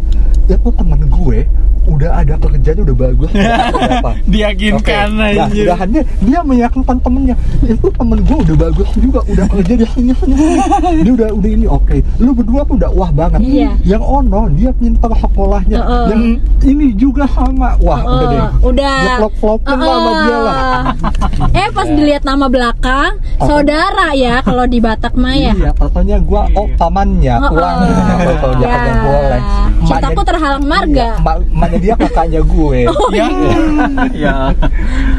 ya kok temen gue udah ada kerjanya udah bagus apa? *laughs*
Diyakinkan
nah,
aja.
udahannya dia meyakinkan temennya Ya, itu temen gue udah bagus juga udah kerja dia ini *laughs* dia udah udah ini oke lu berdua tuh udah wah banget
Iya.
yang ono dia pintar sekolahnya
Heeh.
yang ini juga sama wah udah deh
Eh, udah.
Dia flop-flopin lah sama dia lah. Iya.
Eh, eh, pas dilihat nama belakang,
Apa?
saudara ya kalau di Batak mah ya.
Iya, totonya gua oh Iya. pamannya,
Heeh.
tulangnya, totonya
Ya.
kagak boleh.
Cintaku terhalang marga.
Iya, ma- emaknya dia kakaknya gue.
Ya.
*laughs* ya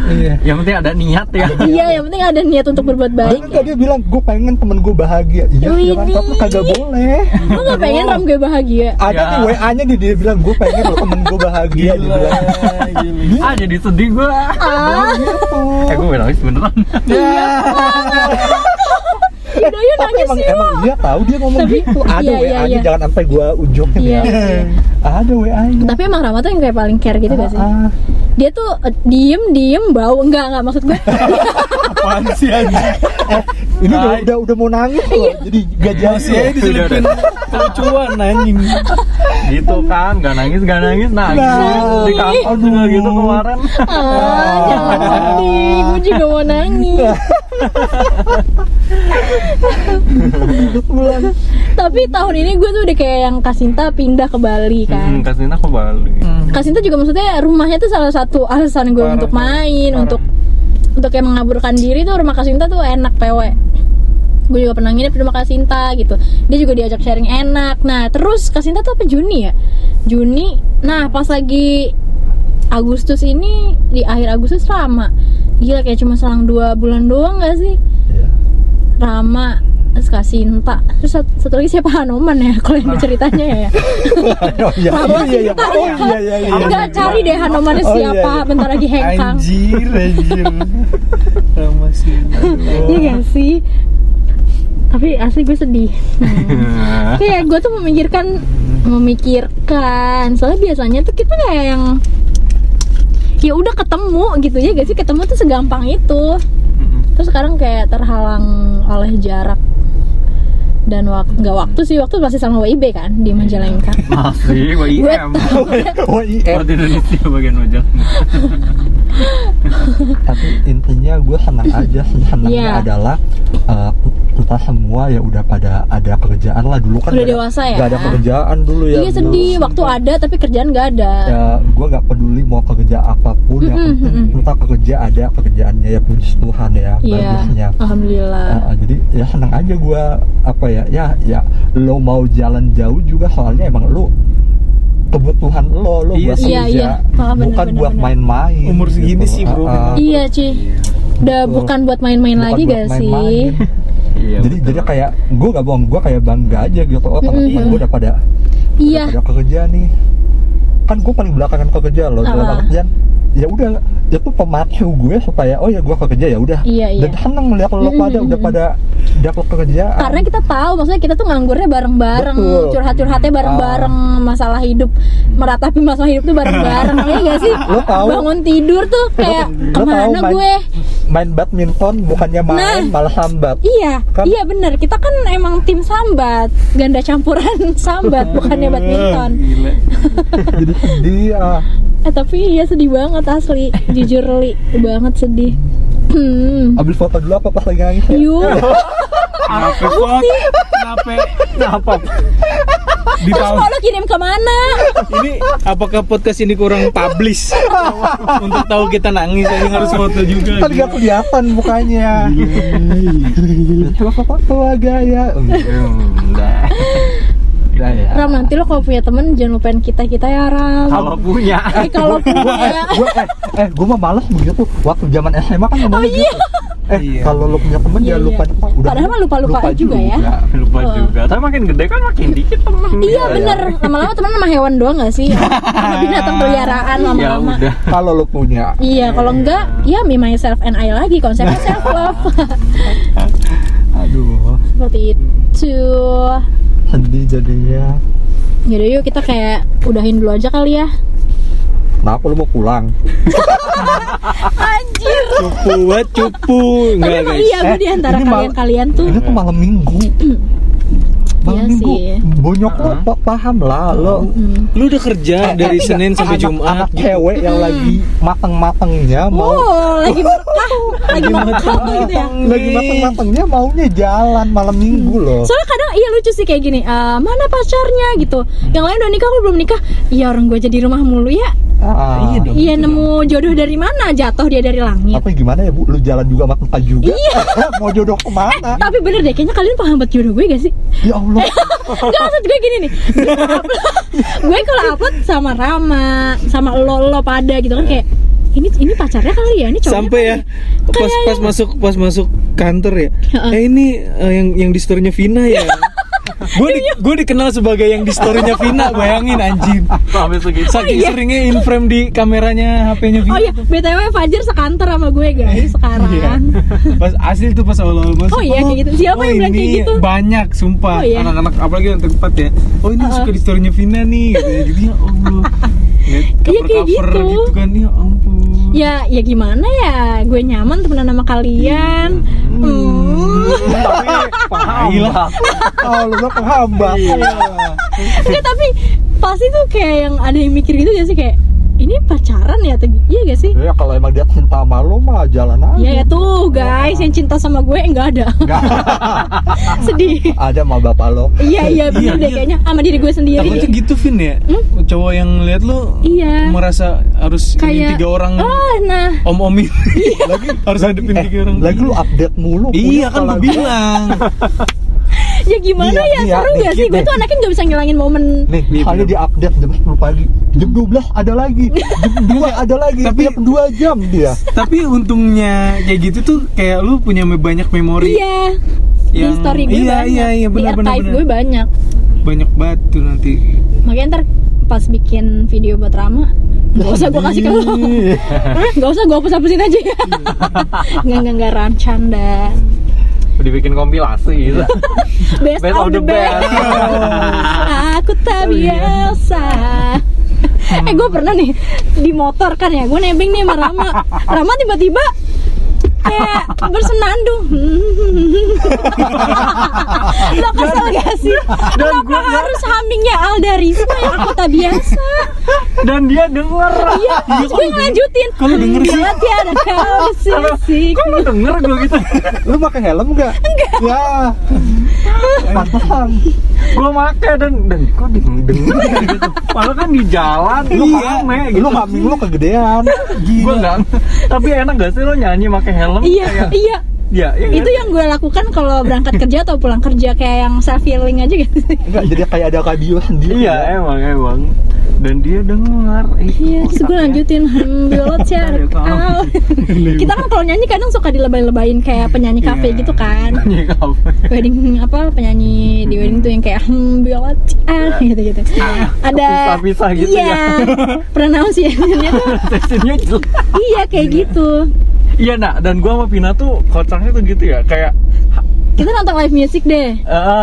Iya.
yang penting ada niat ya
Iya, yang penting ada niat untuk berbuat
Dia
baik.
kan tadi bilang gue pengen temen gue bahagia. Iya,
Widih.
jangan tapi kagak boleh.
Lo nggak
Iya.
pengen Ram gue bahagia?
Ada
Ya.
nih WA-nya dia, dia bilang gue pengen lo temen gue bahagia. Dia
Gila,
bilang
gila.
ah jadi sedih gue
Ah,
gitu.
eh gue nangis
*laughs*
beneran
Udah yuk
Tapi
nangis
emang,
yuk.
emang dia tahu dia ngomong
Tapi-
gitu. Ada
iya, iya,
WA-nya
iya.
jangan sampai gue unjukin
Iya,
ya.
iya.
Ada WA-nya.
Tapi emang Rama tuh yang kayak paling care gitu gak sih?
Ah,
Dia tuh eh, diem diem bau enggak enggak maksud gue.
Apaan sih aja?
ini udah, udah udah mau nangis
Iya.
loh. Jadi gak jadi.
Masih aja diselipin lucuan anjing.
gitu kan nggak nangis nggak nangis nangis
Nah. Kan.
di kantor juga
Aduh.
gitu kemarin
ah, jangan sedih, gue juga mau nangis. Tapi tahun ini gue tuh udah kayak yang Kasinta pindah ke Bali
hmm,
kan.
kasih aku Bali
Hmm.
*laughs*
Kasinta juga maksudnya rumahnya tuh salah satu alasan gue untuk main, untuk untuk kayak mengaburkan diri tuh rumah Kasinta tuh enak PW gue juga pernah nginep di rumah Kasinta gitu dia juga diajak sharing enak nah terus Kasinta tuh apa Juni ya Juni nah pas lagi Agustus ini di akhir Agustus Rama gila kayak cuma selang dua bulan doang gak sih
Iya. *laughs*
Rama terus Kasinta terus sat- satu, lagi siapa Hanoman ya kalau yang ceritanya ya
Oh iya,
Rama
iya, iya.
Kasinta
Oh iya, iya, iya.
enggak cari deh Hanomannya
Oh, iya,
siapa
iya.
bentar lagi hengkang
Anjir, anjir. Sama sih.
Oh.
Iya gak sih? Tapi asli gue
*laughs*
sedih Kayak gue tuh memikirkan Memikirkan Soalnya biasanya tuh kita kayak yang Ya udah ketemu gitu ya gak sih? Ketemu tuh segampang itu Terus sekarang kayak terhalang oleh jarak dan waktu nggak waktu sih waktu pasti sama WIB kan
Iya.
di
*laughs*
Majalengka
masih gue IM
Oh iya.
Buat Indonesia bagian wajah
tapi intinya gue senang aja senangnya
Iya.
adalah uh, kita semua ya udah pada ada kerjaan lah dulu kan
Udah
nggak ada-
dewasa ya?
nggak ada kerjaan dulu ya
iya sedih
dulu.
waktu ada tapi kerjaan nggak ada
ya gue nggak peduli mau kerja apapun yang
Mm-mm, Iya.
penting kita kerja ada kerjaannya ya puji Tuhan ya bagusnya
alhamdulillah
Ah, ah, jadi ya senang aja gue apa ya ya ya lo mau jalan jauh juga soalnya emang lo kebutuhan lo lo
Iya
buat
sih.
kerja
Iya, iya. Ah, bener,
bukan
bener,
buat
bener.
main-main
Umur segini sih, bro,
Ah,
bener.
ah.
iya Ci udah
Betul.
bukan buat main-main
Bukan
Iya, lagi
buat
gak sih
main-main.
iya
jadi
betul.
jadi kayak gue gak bohong gue kayak bangga aja gitu oh teman-teman
Mm-mm.
gue udah pada
iya
udah pada kerja nih kan gue paling belakangan kerja loh dalam
Ah.
artian ya udah itu pemacu gue supaya oh ya gue ke kerja ya udah
Iya, iya.
dan seneng melihat lo
Mm-mm,
pada udah
mm-mm.
pada dapat pekerjaan
karena kita tahu maksudnya kita tuh nganggurnya bareng-bareng
Betul. Hmm. Ah.
curhat-curhatnya bareng-bareng masalah hidup meratapi masalah hidup tuh
*laughs*
bareng-bareng ya gak sih
Lo tahu.
bangun tidur tuh kayak
lo tahu
kemana
main-
gue
main badminton bukannya main
Nah.
malah sambat
iya
Kan-
iya bener kita kan emang tim sambat ganda campuran *laughs* sambat bukannya
Iya.
badminton
Gila.
jadi sedih ah.
eh tapi iya sedih banget asli jujur li banget sedih hmm.
ambil foto dulu apa pas lagi
Iya.
nangis ya? *laughs*
Yuk,
Kenapa kok? Kenapa? Kenapa? Di
terus
tahun
mau lo kirim kemana?
ini apakah podcast ini kurang publish untuk tahu kita nangis ini harus foto juga.
kan gak kelihatan mukanya Iya, coba foto gaya
Udah.
iya, udah ya
Ram nanti lo kalau punya temen jangan lupain kita kita ya Ram.
Kalau punya.
Eh,
*laughs*
kalau punya,
gue eh, eh gue mah males begitu waktu zaman SMA kan namanya gitu. eh
Iya.
kalau lo punya temen
Oh, Iya,
ya lupa
iya.
lupa udah
Padahal mah lupa-lupaan juga ya.
Ya, lupa
Oh.
juga. Tapi makin gede kan makin dikit temen.
Iya bener, lama-lama temen sama hewan doang gak
*laughs*
sih? Sama binatang peliharaan
Ya
lama-lama
udah.
kalau lo punya
Iya, kalau enggak, ya me myself and I lagi konsepnya self love
*laughs* aduh
Seperti itu
sedih jadinya
Yaudah yuk kita kayak udahin dulu aja kali ya
kenapa lo Nah, mau pulang
Anjir
Cupu, buat cupu.
Tapi
Enggak
emang
guys.
iya gue
Eh,
diantara
ini mal-
kalian-kalian tuh
ini tuh malam minggu malam
Iya
minggu
sih.
bonyok lo pa- paham lah lo
Hmm.
Lu udah kerja dari
Iya,
Senin sampai
anak-
Jumat.
anak cewek yang lagi mateng-matengnya mau
Wow, Oh, lagi
*laughs*
berkah, lagi berkah gitu ya
lagi mateng-matengnya maunya jalan malam minggu
Hmm.
loh
Soalnya kadang iya lucu sih kayak gini, "Eh, mana pacarnya gitu Yang lain udah nikah, aku belum nikah Iya orang gue jadi rumah mulu ya
Ah.
Iya dong.
Iya
gitu dong.
nemu jodoh dari mana? Jatuh dia dari langit
tapi gimana ya bu lu jalan juga sama tempat juga
Iya.
*laughs* mau jodoh kemana
Tapi bener deh, kayaknya kalian penghambat jodoh gue gak sih?
*laughs*
ya allah
Gak maksud gue gini nih Gue upload- Gue kalau upload sama Rama Sama lo-lo pada gitu kan kayak Ini ini pacarnya kali ya, ini cowoknya
sampai ya pas pas masuk pas masuk kantor ya
Heeh.
eh ini eh, yang yang di storynya Vina ya gue di, gue dikenal sebagai yang di storynya Vina bayangin anjing
Sampai segitu.
*laughs*
saking seringnya in frame di kameranya HP-nya Vina
Oh iya, BTW Fajar sekantor sama gue
*laughs* Iya.
guys sekarang
pas asli tuh pas awal awal masuk
Oh iya, kayak gitu. Siapa yang bilang kayak
ini
gitu?
banyak sumpah
Oh iya. Uh-uh.
anak-anak apalagi yang tempat ya oh ini suka di storynya Vina nih gitu ya jadi ya
*laughs*
Allah
Iya,
cover
kayak
cover
gitu.
gitu. kan ya ampun
Ya, ya gimana ya? Gue nyaman temenan sama kalian. Hmm.
Tapi paham.
Ah,
Iya.
Gila.
lah.
oh lu udah penghambat
Iya.
Enggak, tapi pasti tuh kayak yang ada yang mikir gitu gak sih kayak ini pacaran ya atau iya gak sih?
ya kalau emang dia cinta sama lo mah jalan aja
Iya ya tuh guys yang cinta sama gue enggak ada. *laughs*
Iya.
Nggak.
Sedih.
*laughs* ada sama bapak lo
Iya iya bener
Iya,
deh
iya.
kayaknya sama diri gue sendiri.
Takutnya gitu Vin ya Cowok yang lihat lu
Hmm? Iya.
Merasa harus ini
Kayak Iya.
tiga orang
Oh, nah.
Om-om
*laughs*
ini *laughs* lagi, Harus hadapin tiga orang
lagi lu update mulu
Iya
punya
kan
kalau
gue
gua- *laughs*
bilang
Ya gimana
Iya,
ya?
iya,
Seru gak
dikit
sih? Gue
deh.
tuh anaknya gak bisa ngilangin momen.
nih
Nih,
hanya
Iya, bener.
di update jam 10 pagi jam 12 ada lagi jam
*laughs*
2 ada lagi
Tapi-
tiap 2 jam
*laughs*
dia
Tapi untungnya kayak gitu tuh Kayak lu punya me- banyak memori
Iya. Di
Yang-
story gue
iya,
banyak.
iya, iya,
di
benar, benar,
archive
benar.
gue banyak.
Banyak banget tuh nanti
Makanya ntar pas bikin video buat Rama Gak usah gue kasih ke lo *laughs*
Ih.
Gak usah gue hapus-hapusin
*laughs*
aja ya Gak, gak, gak Ram canda
Dibikin kompilasi gitu.
Best,
Best of the best.
*laughs*
Oh, iya.
Aku tak biasa
Hmm.
Eh gue pernah nih Di motor kan ya Gue nebeng nih sama Rama Rama tiba-tiba Kayak bersenandung *laughs* Lo kesel gak sih? Kenapa harus hamingnya Alda Risma yang aku tak biasa
Dan dia denger.
Iya, terus gue ngelanjutin
kalau denger sih.
Gak tiada kau sisik
Kok lu denger gue gitu?
lu pakai helm nggak ya
*laughs*
pantesan
gue make dan dan kok di denger ya gitu. Padahal kan di jalan lu
Iya.
rame gitu.
lu hamil lu kegedean
Gue enggak. Tapi enak gak sih lo nyanyi pakai helm?
Iya, iya
Iya, iya.
Itu yang gue lakukan kalau berangkat kerja atau pulang kerja Kayak yang self healing aja gitu *laughs*
Enggak, jadi kayak ada radio sendiri.
Iya,
ya.
emang emang. dan dia dengar itu
Iya, terus gue lanjutin hmm, Violet share
Aduh, kamu.
out. Kita kan kalau nyanyi kadang suka dilebay-lebayin kayak penyanyi kafe
Iya.
gitu kan.
Bunyi apa?
Wedding apa penyanyi di wedding tuh yang kayak hmm Violet ah gitu-gitu. Ada
Kepisah-pisah gitu ya.
iya, *laughs* pronunciation-nya tuh
Sesinya jelek.
iya kayak gitu.
Iya nak, dan gua sama Pina tuh kocaknya tuh gitu ya, kayak
Kita nonton live music deh.
eh
Ada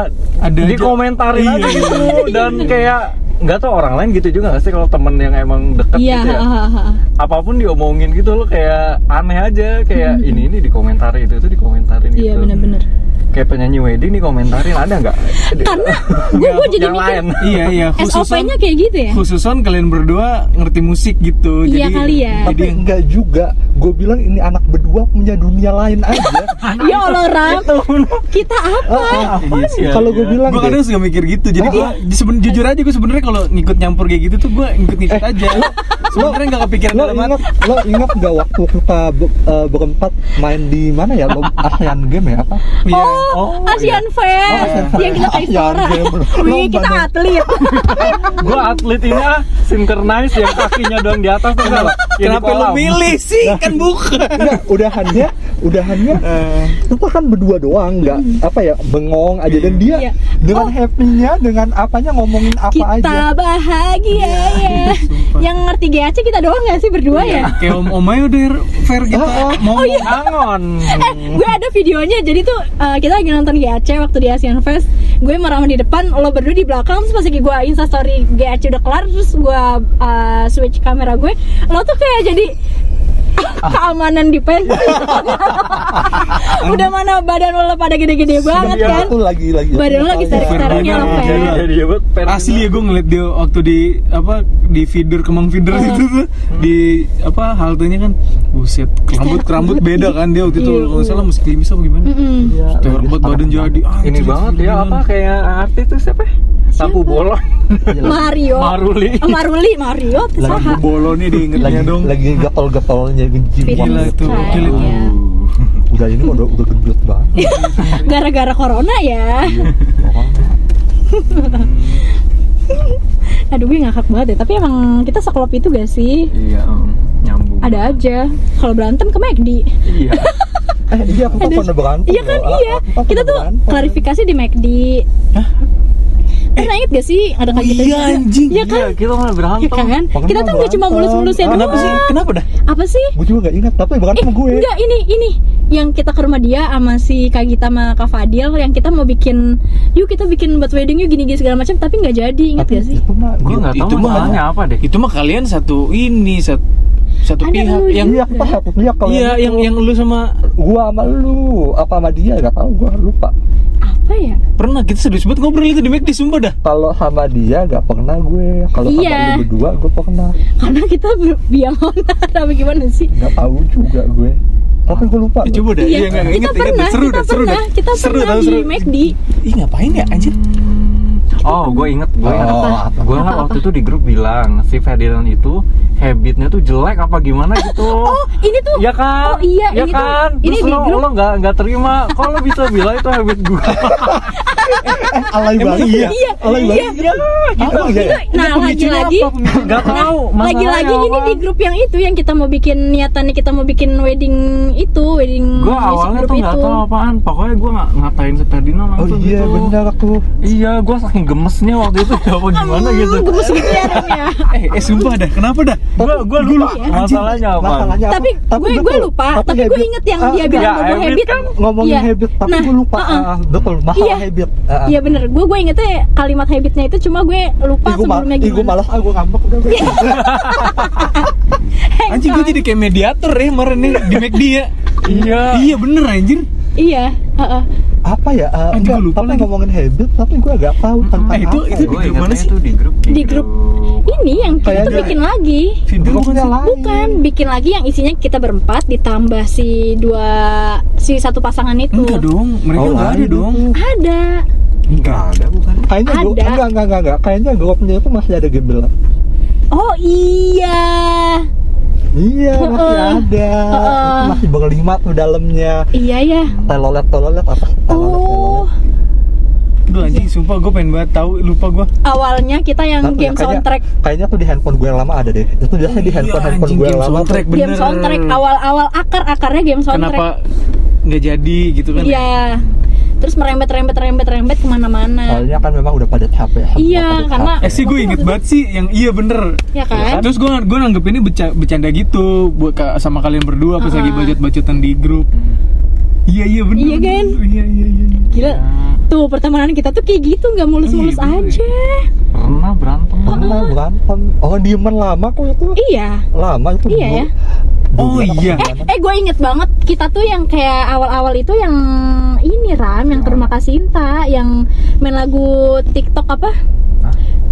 ada
aja.
dikomentarin
Iya.
aja gitu dan kayak nggak tau orang lain gitu juga nggak sih kalau temen yang emang deket
Iya,
gitu ya
ha, ha, ha.
apapun diomongin gitu lo kayak aneh aja kayak ini ini dikomentari itu itu dikomentarin gitu
iya benar-benar.
kayak penyanyi wedding dikomentarin ada nggak
Karena gue gue jadi
yang
mikir eh,
lain
iya
*laughs*
iya khususan
SOP-nya kayak gitu ya.
khususan kalian berdua ngerti musik gitu
Iya
jadi
kali ya.
jadi
Tapi enggak juga. Gue bilang ini anak berdua punya dunia lain aja.
*laughs* Ya Allah
Iya,
Ram, kita apa?
Apaan ya?
Kalau gue bilang
gue
deh,
kadang suka mikir gitu jadi gue
Iya.
seben- jujur aja gue sebenarnya kalau ngikut nyampur kayak gitu tuh gue ngikut ngikut aja *laughs* sebenarnya nggak kepikiran
lo
dalam hati.
ingat lo ingat nggak waktu kita be- eh, berempat main di mana ya lo ASEAN Game ya apa?
Iya.
Oh, ASEAN
ASEAN
Fest yang iya, kita
Fest.
Istora. *laughs*
ASEAN Games.
Wih,
Lomba
iya, kita
dong.
atlet.
gue atlet ini ah synchronize yang kakinya doang di atas tuh enggak
kenapa lo milih sih kan bukan
Enggak, udahannya, udahannya
Eh.
kita kan berdua doang, nggak apa ya bengong aja dan dia
Hmm. Iya.
dengan happy-nya, dengan apanya ngomongin apa
Kita
aja.
bahagia ya. Yang ngerti GAC kita doang gak sih berdua ya?
kayak om om ayo udah fair gitu
Ah, ah.
mau
oh, iya
angon
Eh, gue ada videonya. Jadi tuh eh, kita lagi nonton GAC waktu di Asian Fest. Gue merama di depan, lo berdua di belakang. Terus pas lagi gue insta story GAC udah kelar, terus gue eh, switch kamera gue. Lo tuh kayak jadi *laughs* keamanan di pen *laughs* udah mana badan lo pada gede-gede banget kan
Itu Iya, lagi lagi. Iya,
Badan lo lagi
Verbena
serik-seriknya lo
mau
Fer.
jadi-
jadi ya buat per-
asli ya gue ngeliat dia waktu di apa di feeder kemang
Oh.
feeder itu tuh
Hmm.
di apa haltenya kan buset rambut rambut beda kan dia waktu itu
Iya.
kalau nggak salah muslimis apa gimana
Mm-mm.
Tuh, rambut badan
Iya,
jadi ah,
ini
terus
banget ya
Ferdinand.
apa kayak artis tuh siapa ya? Lampu bolong
Mario
Maruli
Eh, Maruli Mario
Lampu
saha
bolon nih
lagi
diingetnya Iya dong
lagi getol-getolnya gejim
Fit
gila
banget.
itu
Iya.
gila itu.
Iya.
Udah ini udah udah gendut banget.
gara-gara corona ya
Iya.
Orangnya.
aduh gue ngakak banget ya tapi emang kita sekelop itu gak sih
iya em, nyambung
ada aja kalau berantem ke McD
iya
Eh, iya aku kan pernah berantem.
iya kan
loh.
iya
Aku kan
kita
pernah
tuh
berantem.
klarifikasi di McD pernah inget gak sih ada kayak gitu
iya, anjing.
iya kan
iya kita malah
Iya
berantem
kan?
Pokoknya
Kita tuh nggak cuma
berantem.
mulus-mulusnya doang.
kenapa sih kenapa dah
Apa sih?
Gue juga nggak ingat, tapi berantem
Eh,
gue.
enggak ini ini yang kita ke rumah dia sama si Kak Gita sama Kak Fadil yang kita mau bikin yuk kita bikin buat wedding yuk gini-gini segala macam tapi nggak jadi ingat
Tapi
gak ya sih?
itu mah
gue nggak tahu
Itu mah-
masalahnya apa deh
itu mah kalian satu ini satu satu
Ada
pihak
lu
yang
Iya, aku paham. Iya, kalau
iya yang yang lu sama
gua sama lu apa sama dia nggak tahu gua lupa
Apa ya?
pernah kita serius banget ngobrol itu di McD sumpah dah
kalau sama dia nggak pernah gue kalau sama
Iya.
lu berdua gue pernah
Karena kita ber- biang *laughs* onar apa gimana sih?
nggak tahu juga gue tapi gue lupa
Ya,
loh.
coba dah
Iya,
iya nggak
kita
ingat
pernah,
ingat seru
kita
dah seru
pernah,
dah
kita
seru
pernah
tahu
di
seru
McD.
ih ngapain ya anjir
oh gue inget gue inget
Oh, apa?
gue
Apa,
waktu itu di grup bilang si Ferdinand itu habitnya tuh jelek apa gimana gitu
*laughs* Oh, ini tuh.
Ya kan?
Oh iya,
ya
ini
kan?
tuh. Ini
Terus
di
lo,
grup.
lo nggak nggak terima. Kok lo bisa bilang itu habit *laughs* gue?
eh, alay
Emang
banget
iya?
ya? alay
Iya,
banget ya gitu
Itu, nah lagi-lagi nah,
Gak tahu.
lagi-lagi ini di grup yang itu yang kita mau bikin niatannya kita mau bikin wedding itu wedding
Gue
music
awalnya
group
tuh nggak
itu.
tahu apaan. Pokoknya gue nggak ngatain si Ferdinand
oh
langsung
iya
gitu.
benar aku
Iya, gue saking gemesnya waktu itu *laughs* apa gimana
Hmm,
gitu.
gemes gitu ya Ren ya.
eh eh sumpah dah kenapa dah
Gue gue lupa
Iya.
masalahnya apa.
masalahnya apa?
tapi, gue gue
betul.
lupa tapi, gue
habit-
inget yang
ah,
dia bilang
iya,
bobo
habit
habit
kan
ngomongin
Iya.
habit tapi
Nah,
gue lupa
uh-uh.
ah, betul masalah
Iya.
habit ah, ah.
Iya bener, gue gue ingetnya kalimat habitnya itu cuma gue lupa
Ih, gue mal-
sebelumnya
ih, gue
gimana. Iya.
malas ah gue ngambek udah gue.
anjing gue jadi kayak mediator ya kemarin nih di McD ya
Iya.
iya bener anjir
Iya, heeh.
apa ya ah,
Anjing,
enggak,
gue lupa
tapi
lagi.
ngomongin habit tapi gue nggak tahu tentang
Nah,
Eh, itu-
apa
itu
ya.
di
Gue
grup mana
ingetnya
sih?
itu di grup.
Di grup. ini yang kita tuh
Kayaknya-
bikin lagi.
video bukan
Grupnya
sih?
lain.
Bukan, bikin lagi yang isinya kita berempat ditambah si dua si satu pasangan itu.
enggak dong mereka
Oh,
nggak ada
lain
dong
itu.
Ada.
Enggak ada bukan?
Kayaknya
Ada.
gue enggak enggak enggak enggak. Kayaknya grupnya itu masih ada gebelan.
Oh iya.
Iya masih
Heeh.
ada.
Heeh.
Itu masih berlima tuh dalamnya.
Iya ya.
Telolet telolet apa? Telolet,
Oh.
telolet.
Duh anjing sumpah gue pengen banget tahu lupa gue.
awalnya kita yang
Ntar tuh ya,
game
kayaknya-
soundtrack
Kayaknya tuh di handphone gue yang lama ada deh. Itu biasanya di handphone handphone gue yang lama. tuh
soundtrack bener.
game soundtrack awal-awal akar-akarnya game soundtrack
Kenapa nggak jadi gitu kan?
Iya. Terus merembet rembet rembet rembet
Oh,
kemana-mana.
Soalnya kan memang udah pada capek.
Iya, karena-
Eh sih gue inget banget sih yang iya bener
Ya kan?
Terus gue gue nanggep ini beca- bercanda gitu buat ka- sama kalian berdua pas
Ah.
lagi bacot-bacotan di grup. Iya iya bener.
Iya, kan?
Iya iya iya.
Gila. Tuh pertemanan kita tuh kayak gitu nggak mulus-mulus
Iya, bener.
aja.
pernah berantem
Pernah berantem. Oh diemen lama kok itu.
Iya.
Lama itu.
Iya
dulu.
ya.
Dulu
Oh,
berapa
iya.
pertemanan?
Eh gue inget banget kita tuh yang kayak awal-awal itu yang ini Ram yang terima kasih Inta yang main lagu TikTok apa?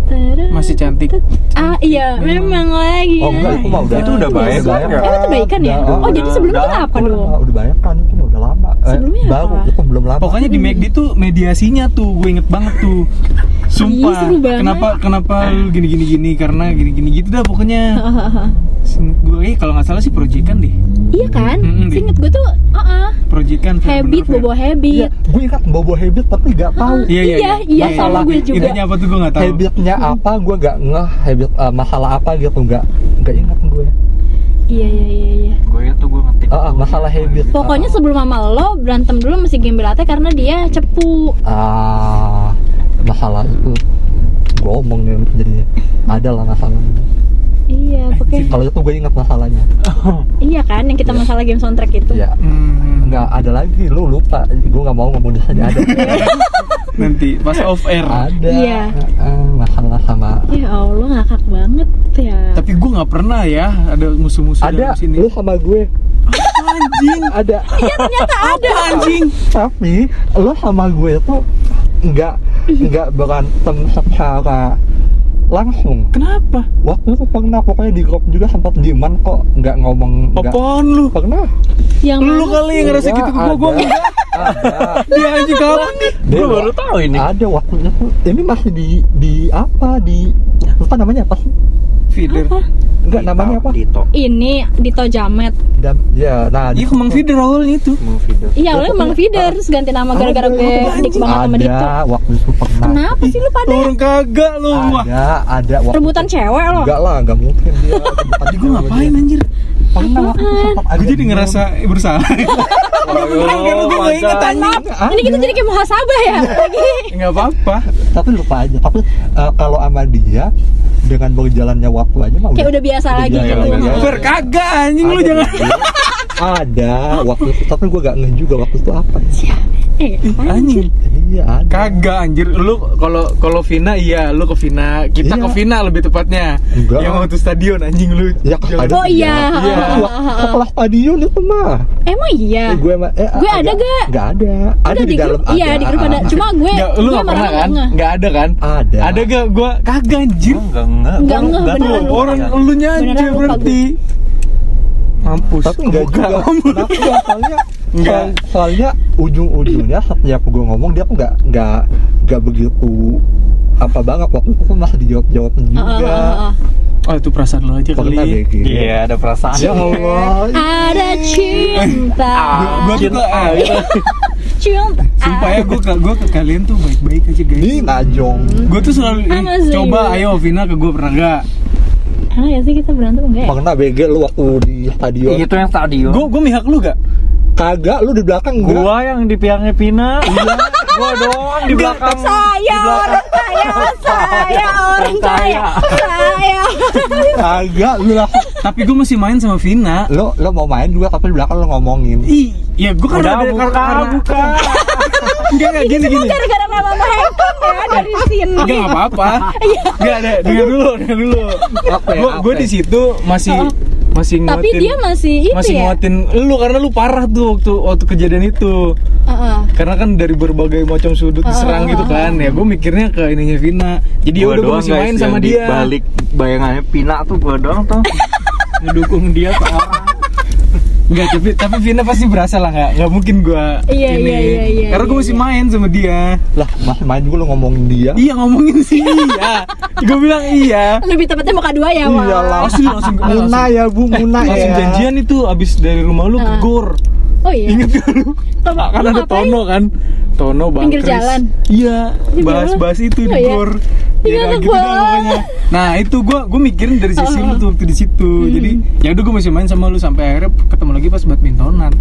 Tadam.
Masih cantik.
Ah iya memang lagi.
Oh enggak, itu mah udah.
Itu udah baik,
udah
kan?
Eh, itu Iya. baikan ya?
Udah,
oh, jadi sebelumnya
udah,
kita apa
udah,
dulu?
udah banyak kan itu mah udah lama. Eh,
Sebelumnya
baru
apa?
itu belum lama.
Pokoknya di McD tuh mediasinya tuh gue inget banget tuh.
Ih,
Sumpah.
Iya, seru banget.
kenapa kenapa lu gini gini gini karena gini gini gitu dah
*laughs*
pokoknya. Seinget gue eh, kalau nggak salah sih proyekan deh.
iya kan?
Mm-mm, deh.
Seinget gue tuh, ah ah,
Proyekan. Fer,
habit,
bener, Fer.
bobo
Iya,
habit.
gue ingat bobo habit tapi nggak tahu.
Iya iya
Iya, iya,
sama gue
juga.
Intinya apa tuh gue
Ah.
nggak tahu.
Habitnya
Hmm.
apa gue nggak ngeh habit eh, masalah apa gitu nggak nggak ingat gue.
Iya iya iya iya.
gue itu gue ngetik
Ah, ah, masalah habit.
Pokoknya sebelum mama lo berantem dulu masih gembelatnya karena dia cepu.
ah masalah itu gue omong nih jadinya ada lah masalahnya
Iya, oke.
kalau itu gue ingat masalahnya
Iya kan yang kita masalah game soundtrack itu.
ya
Hmm,
nggak ada lagi lu lupa gue nggak mau ngomong di sana ada
nanti pas off air.
ada
Iya.
Ah, ah, masalah sama
Ya Allah ngakak banget ya.
Tapi gue nggak pernah ya ada musuh-musuh
ada
dalam sini.
lu sama gue
Anjing,
ada
ada anjing.
tapi lu sama gue tuh nggak nggak berantem secara langsung
Kenapa?
waktu itu pernah pokoknya di grup juga sempat diman kok nggak ngomong nggak
Apaan lu?
pernah
Yang
Lu
mana?
kali yang ngerasa gitu ke gue, gue
Ada,
enggak.
ada.
Dia anjing kapan nih?
Dia
gue baru tahu ini
Ada waktunya tuh. Ini masih di di apa di lupa namanya apa sih?
Feeder.
Enggak namanya apa?
Dito
Ini Dito Jamet.
Dam, ya, nah.
Iya kemang feeder awalnya itu.
Movie
Iya, lo
pokoknya-
emang feeder terus ganti nama gara-gara
Ada,
gue
ada,
dik banget sama Dito.
Ada waktu itu pernah.
Kenapa sih lu pada
Orang kagak lu. Wah,
Ada, ada waktu.
rebutan cewek lo?
Enggak lah, enggak mungkin
*laughs*
dia. rebutan
tadi gue
cewek
ngapain
dia.
anjir?
Pernah waktu itu sempat ada
Gue jadi
di-
ngerasa bersalah. *laughs* Beneran kan lu gue nggak inget anjing.
Enggak
Ini kita
ada.
jadi kayak muhasabah ya lagi.
Enggak apa-apa.
tapi lupa aja. Tapi eh, kalau sama dia dengan berjalannya waktu aja mah
Kayak udah biasa lagi
biasa,
gitu.
udah biasa.
Fer kagak anjing lu
Ada
jangan.
di dia. ada waktu itu, tapi gue gak ngeh juga waktu itu apa
Eh,
Anjing.
iya ada
Kagak anjir, lu kalau kalau Vina iya, lu ke Vina, kita
Iya.
ke Vina lebih tepatnya.
Enggak.
Yang waktu stadion anjing lu.
Ya, kan ada
Oh
dia.
iya. *laughs*
Iya.
setelah stadion itu mah
Emang iya.
Eh, gue mah eh,
Gue ada gak?
Gak ada ada
Udah
di, dalam
grup, iya di grup ada. Cuma gue
Nggak, lu
gue
nggak
sama
pernah
Rama
kan?
nggak.
Nggak ada kan?
ada
Ada gak? Gua kagak anjir. Iya.
enggak enggak
Enggak ngeh, beneran.
Tuh, Iya.
Iya.
orang lu
Beneran
nyanyi
lupa
berarti. Mampus.
tapi enggak
Buka.
juga Kenapa? soalnya
*laughs*
Enggak.
soal- soalnya ujung-ujungnya setiap gue ngomong dia tuh nggak nggak nggak begitu apa banget waktu itu kan masih dijawab jawab
Ah, ah,
juga
ah, ah.
*laughs* Oh, itu perasaan lu aja
Pernah
kali.
deh gitu.
iya ada perasaan
ya Allah
Ada cinta.
Gua, gua tuh ke ah, gitu.
Cinta.
Sumpah ya gua ke gua ke kalian tuh baik-baik aja guys.
ini najong
Gua tuh selalu eh,
Sama sih.
coba ayo Vina ke gua pernah gak?
Emang ya sih kita berantem enggak ya?
pernah BG lu waktu di stadion
Iya.
itu yang stadion
Gua gua mihak lu gak?
kagak lu di belakang enggak?
gua yang di piangnya Pina iya gua doang di belakang
Saya orang kaya, saya orang kaya, saya.
kagak lu langsung
Tapi gua masih main sama Vina.
lo lo mau main juga tapi di belakang lo ngomongin
Ih, ya gua kan
Udah,
ada
buka, buka.
Enggak enggak gini gini.
Gara-gara nama Mama Hengkong ya dari sini.
Enggak enggak apa-apa.
Iya.
Enggak ada, dengar dulu, dengar dulu.
Apa ya,
Gua gua
apa
di situ masih
Oh.
masih
Tapi
nguatin
dia masih itu
masih
ya.
nguatin lu karena lu parah tuh waktu waktu kejadian itu
Heeh.
karena kan dari berbagai macam sudut diserang gitu kan ya gue mikirnya ke ininya Vina jadi ya
Gua
udah gue
doang,
masih
guys,
main
yang
sama
di
dia
balik bayangannya Pina tuh gua doang tuh
ngedukung dia parah Enggak, tapi tapi Vina pasti berasa lah nggak nggak mungkin gue
Iya,
ini
iya, iya, iya,
karena gue
iya,
masih
iya.
main sama dia
lah masih main juga lo ngomongin dia
iya ngomongin sih iya gue bilang iya
Lebih tepatnya muka dua ya, Wak.
Iyalah.
langsung langsung, eh,
Muna
langsung
ya bu Muna
langsung
ya
janjian itu abis dari rumah lu ke
Ah.
gor
Oh iya.
Ingat gak lu?
Tom,
Kan
lu
ada
ngapain?
Tono kan? Tono Bang
Pinggir
Kris.
jalan?
Iya,
Pinggir
bahas-bahas
jalan?
itu di
Oh, iya.
gor.
Iya,
Ya,
ke
gitu dah
gor.
pokoknya. Nah, itu gua gua mikirin dari sisi
Oh.
lu tuh waktu di situ. Jadi,
Hmm.
ya udah gua masih main sama lu sampai akhirnya ketemu lagi pas badmintonan.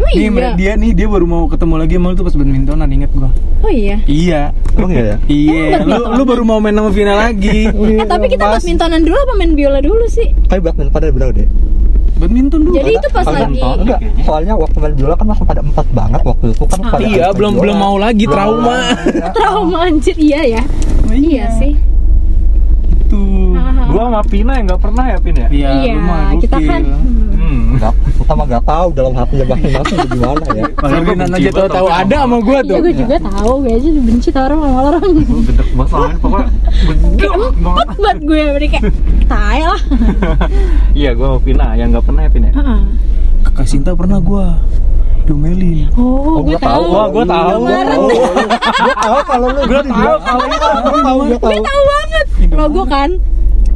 Oh
Nih,
iya.
mere- dia nih dia baru mau ketemu lagi sama lu tuh pas badmintonan, inget gua.
Oh iya.
Iya.
Emang iya ya?
Iya, lu lu baru mau main sama Vina lagi.
Eh tapi kita
Pas-
badmintonan dulu apa main biola dulu sih?
Tapi badminton pada benar deh.
*laughs* Badminton dulu.
Jadi itu pas
Enggak,
lagi.
enggak. Soalnya waktu main biola kan masih pada empat banget waktu itu kan pada
Iya, belum
main biola.
belum mau lagi *laughs*
Belum
trauma.
mau lagi, ya.
Trauma anjir iya ya. Iya sih.
Itu.
Hahaha.
Gua sama Pina yang nggak pernah ya Pin ya.
gitu. Iya, lu mah
Iya, kita
gokil.
kan hmm,
Hmm.
Enggak, sama enggak tahu dalam hatinya masing-masing gimana ya.
Padahal
Saya
Vina
benci
aja
banget
tahu-tahu
sama
ada sama gua ya.
Iya
tuh.
gue juga tahu, gue aja benci tau orang sama orang
Gua gedek banget soalnya pokoknya gedek banget.
Empat buat gue, berarti kayak Tai lah
Iya, gua sama Pina yang nggak pernah ya Pin ya.
Heeh.
Iya. Kakak Sinta pernah gua domelin.
Oh,
Oh,
gue
gua
tahu.
Wah, gua tahu.
Kemarin.
Oh, iya. Gua tahu kalau lu
Gua tahu
kalau itu gua tahu gua
Gue
tahu.
tahu banget Kalau gue kan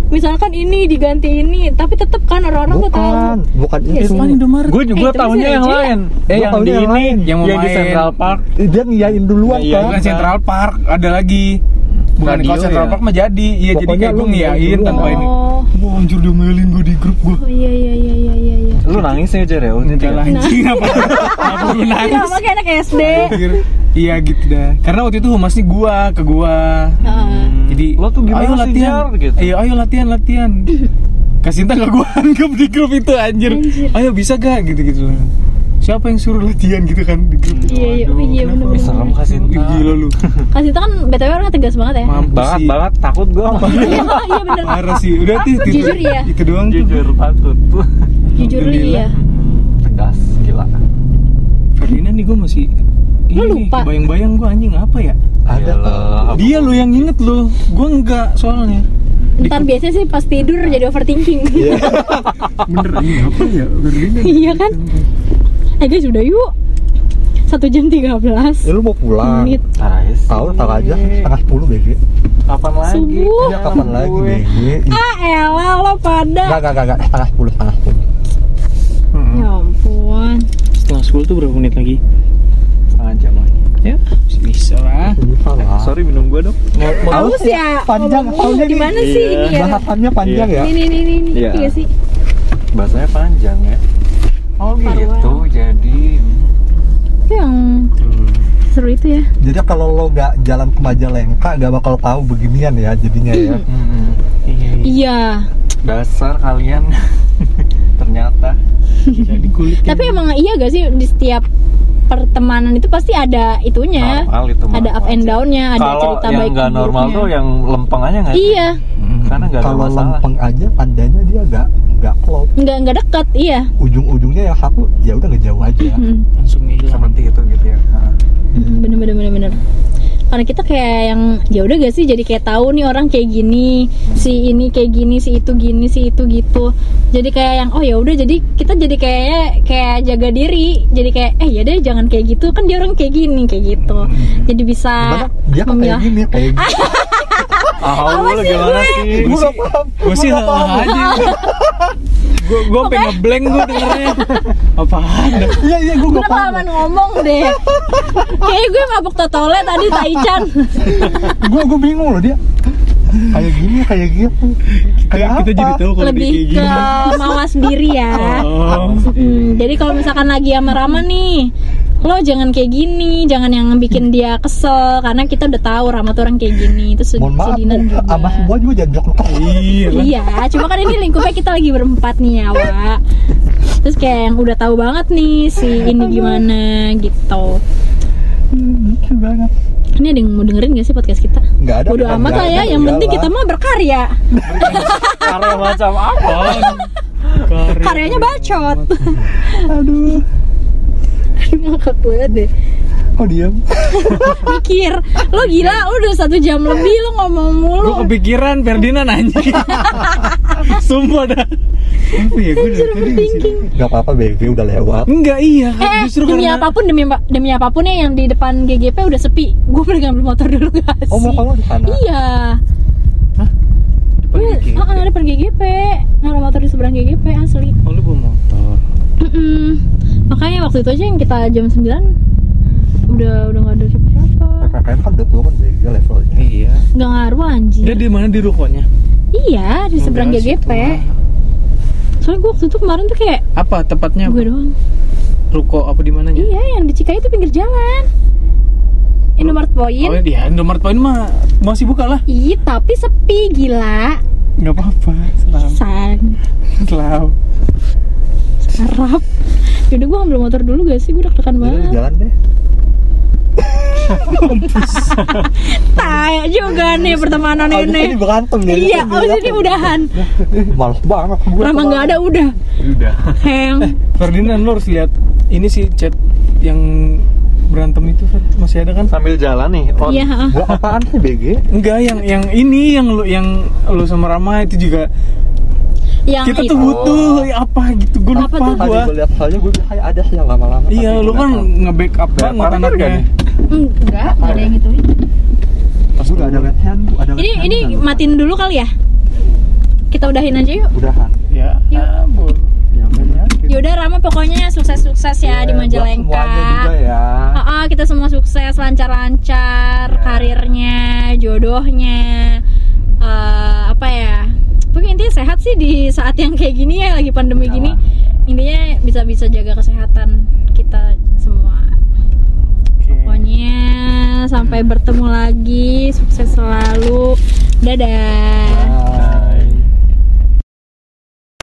Misalkan ini diganti ini Tapi tetep kan orang-orang tuh tahu
Bukan, bukan
Iya
itu.
Cuman Indomaret.
Gua
Eh,
juga
terus
tahunya
aja.
yang lain. Eh,
Gua
yang
tahunya
di
yang
ini,
lain.
Yang mau
yang di
main.
Central Park.
Dia ngiyain duluan
Iya,
kan.
Bukan Central Park, ada lagi. Bukan
Radio
kalau Central
ya?
Park mah jadi. Iya, jadi
Pokoknya
kayak
lu
gua ngiyain
ngiyain
tanpa
dulu.
ini.
Oh,
Wah, anjir domelin gua di grup gua.
oh iya iya iya iya iya iya
Lu nangis ya Jer ya? waktu itu
Enggak
ya?
lah, anjing
*laughs*
apa? Apa lu
Iya,
nangis?
makanya anak SD
Anjir. Iya gitu dah. Karena waktu itu humasnya gua ke gua.
Heeh.
Jadi
Lo tuh gimana
ayo
sih,
latihan.
Jar?" gitu.
Iya, ayo latihan,
*laughs*
latihan. Kasinta gak gua anggap di grup itu anjir.
Anjir.
Ayo bisa gak gitu-gitu. Siapa yang suruh latihan gitu kan di grup?
Iya, iya,
Waduh,
iya,
kenapa?
bener-bener.
Ih, Eh, serem Kasinta.
Ih, Gila lu.
Kasih itu kan BTW orangnya tegas banget ya
Mampus
Ah, Banget
sih.
banget takut gua *laughs* sama Pina.
Iya, Iya bener
Parah sih. Udah sih itu,
Jujur iya.
itu doang tuh.
Jujur takut.
Jujur lu iya
Hmm, Tegas, gila.
Ferdinand nih gua masih
Lu lupa?
Bayang-bayang gua anjing apa ya?
Ada
Gila.
tahu.
Dia lu yang inget lu. Gua enggak soalnya.
Ntar biasanya sih pas tidur jadi overthinking
Iya.
Bener anjing apa ya? Ferdinand.
Iya kan? Eh guys udah yuk Satu jam 13
Ya, lu mau pulang.
menit
Tarais.
Tahu tahu aja
Iya.
setengah sepuluh BG.
Kapan lagi?
Subuh.
Iya, kapan lagi
Gue.
BG?
Ah elah lo
Enggak,
pada
enggak, enggak, setengah sepuluh, setengah sepuluh.
Hmm,
Ya ampun
Setengah sepuluh tuh berapa menit lagi?
Setengah jam lagi.
Ya, masih bisa lah.
Bisa
Ah.
lah.
Sorry minum gua dong.
Mau- mau-
Haus ya
Panjang,
ngomong-ngomong.
hausnya nih.
Gimana sih
Iya.
ini ya
Bahasannya panjang ya.
Ini ini ini ini
Iya.
Iya sih
Bahasanya panjang ya. Oh gitu,
Paruan.
jadi
Itu yang
Hmm.
seru itu ya
Jadi kalau lo nggak jalan ke Majalengka nggak bakal tahu beginian ya jadinya ya.
hmm,
Iya, iya.
Iya
dasar kalian *laughs* ternyata
Jadi kulit.
Tapi emang iya gak sih di setiap pertemanan itu pasti ada itunya
normal itu mah.
Iya. Ada up and down-nya, ada
Kalau
cerita
yang
baik
nggak normal
buruknya.
tuh ya. yang lempeng aja nggak sih?
Iya
Karena nggak ada
Kalau
masalah.
lempeng aja tandanya dia nggak nggak klop.
nggak nggak dekat iya
Nah.
Ujung-ujungnya yang satu ya udah ngejauh aja.
Hmm.
langsung hilang.
Seperti itu gitu ya. Nah,
Mm, bener bener bener bener karena kita kayak yang ya udah gak sih jadi kayak tahu nih orang kayak gini si ini kayak gini si itu gini si itu gitu jadi kayak yang oh ya udah jadi kita jadi kayaknya kayak jaga diri jadi kayak eh ya deh jangan kayak gitu kan dia orang kayak gini kayak gitu jadi bisa
Gimana? Dia kan kayak
memilah
gini kayak gini.
Ah, lu gimana sih?
Gue nggak paham.
Gue sih
Gua nggak
hal
paham.
aja. Gue gue pengen ngeblank gue dengernya. Apaan? dah?
Iya iya gue
gue
nggak paham.
kelamaan Anu, ngomong deh kayaknya gue mabuk totole tadi Taichan
Gue gue bingung loh dia. Kayak gini kayak gitu. Kayak
Kita jadi
apa?
tahu kalau dia
lebih
kayak
ke
gini.
mawas diri ya
Oh.
Hmm,
Iya.
jadi kalau misalkan lagi sama Rama nih, lo jangan kayak gini, jangan yang bikin dia kesel karena kita udah tahu Rama tuh orang kayak gini. Terus
Mohon maaf,
Dinan
Bu. ya,
juga.
sama semua juga jangan jok
Iya. lah.
Iya, cuma kan ini lingkupnya kita lagi berempat nih ya, Wak. Terus kayak yang udah tahu banget nih si ini gimana gitu.
Lucu Hmm, banget.
Ini ada yang mau dengerin gak sih podcast kita?
Nggak ada.
Bodo
bukan
amat
nggak
lah ya,
ada,
yang
udah
penting
lah.
kita mah berkarya.
Karya macam apa?
Karya.
Karyanya bacot.
Aduh.
Ngakak banget deh.
Oh diam.
*laughs* Mikir, lo gila, lo udah satu jam lebih lo ngomong mulu.
Gue kepikiran Ferdinand anjing.
*laughs*
Sumpah dah. Apa ya gue dari tadi masih-
Gak apa-apa baby udah lewat.
Enggak iya.
Eh,
Justru
demi
karena
apapun demi apa- demi apapun ya yang di depan GGP udah sepi. Gue pengen ngambil motor dulu gak sih?
Oh mau kamu di sana?
Iya.
depan
Gue
dikit.
ah, ada per GGP. Ngambil motor di seberang GGP asli.
Oh lu bawa motor.
Mm-mm. makanya waktu itu aja yang kita jam 9 udah udah nggak ada siapa-siapa
PPKM kan udah turun beda levelnya
Iya.
nggak ngaruh anjing
Dia di mana di rukonya?
iya di seberang
Udah,
GGP
situ lah.
soalnya gue waktu itu kemarin tuh kayak
Apa tepatnya?
gue doang
Ruko apa di mananya?
iya yang di Cikai itu pinggir jalan Indomaret
Oh
Point
iya, Indomaret Point mah masih buka lah.
Ih, tapi sepi gila.
Enggak apa-apa. Selam.
Sang,
Selam.
sarap. Yaudah gue ambil motor dulu gak sih? Gue
Iya,
deg-degan
jadi
banget.
jalan deh
Tai
Iya,
juga nih pertemanan
Abis
ini.
ini berantem nih
Iya, abis ini udahan.
Males banget gue
Lama nggak ada udah.
Udah. Eh,
Heng.
Ferdinand lo harus lihat ini sih chat yang berantem itu Fer. masih ada kan?
sambil jalan nih oh,
Iya, heeh.
Gua apaan sih BG?
Enggak, yang yang ini yang lu yang lu sama Rama itu juga
yang
kita
itu.
tuh butuh apa gitu gue
Apa
lupa
tuh?
Tadi
gua.
gue lihat soalnya gue bilang "Hai, ada sih yang lama-lama
Iya, lu kan nge-backup
Gak
banget
parah
anaknya.
kan nih?
Enggak, nggak ada yang itu.
Pas gue ada red hand,
Ini
ada red hand,
ini
ada red hand.
matiin dulu kali ya. Kita udahin aja yuk.
Udahan
Ya,
Iya.
ampun.
Ya, bener.
Yaudah Rama pokoknya sukses-sukses ya di
Eh, buat Semuanya juga
Majalengka.
ya
Ah, ah, kita semua sukses, lancar-lancar,
Iya.
karirnya, jodohnya, eh, apa ya? Pokoknya intinya sehat sih di saat yang kayak gini ya, lagi pandemi gini.
Iya.
Intinya bisa-bisa jaga kesehatan kita semua. Pokoknya sampai bertemu lagi, sukses selalu. Dadah.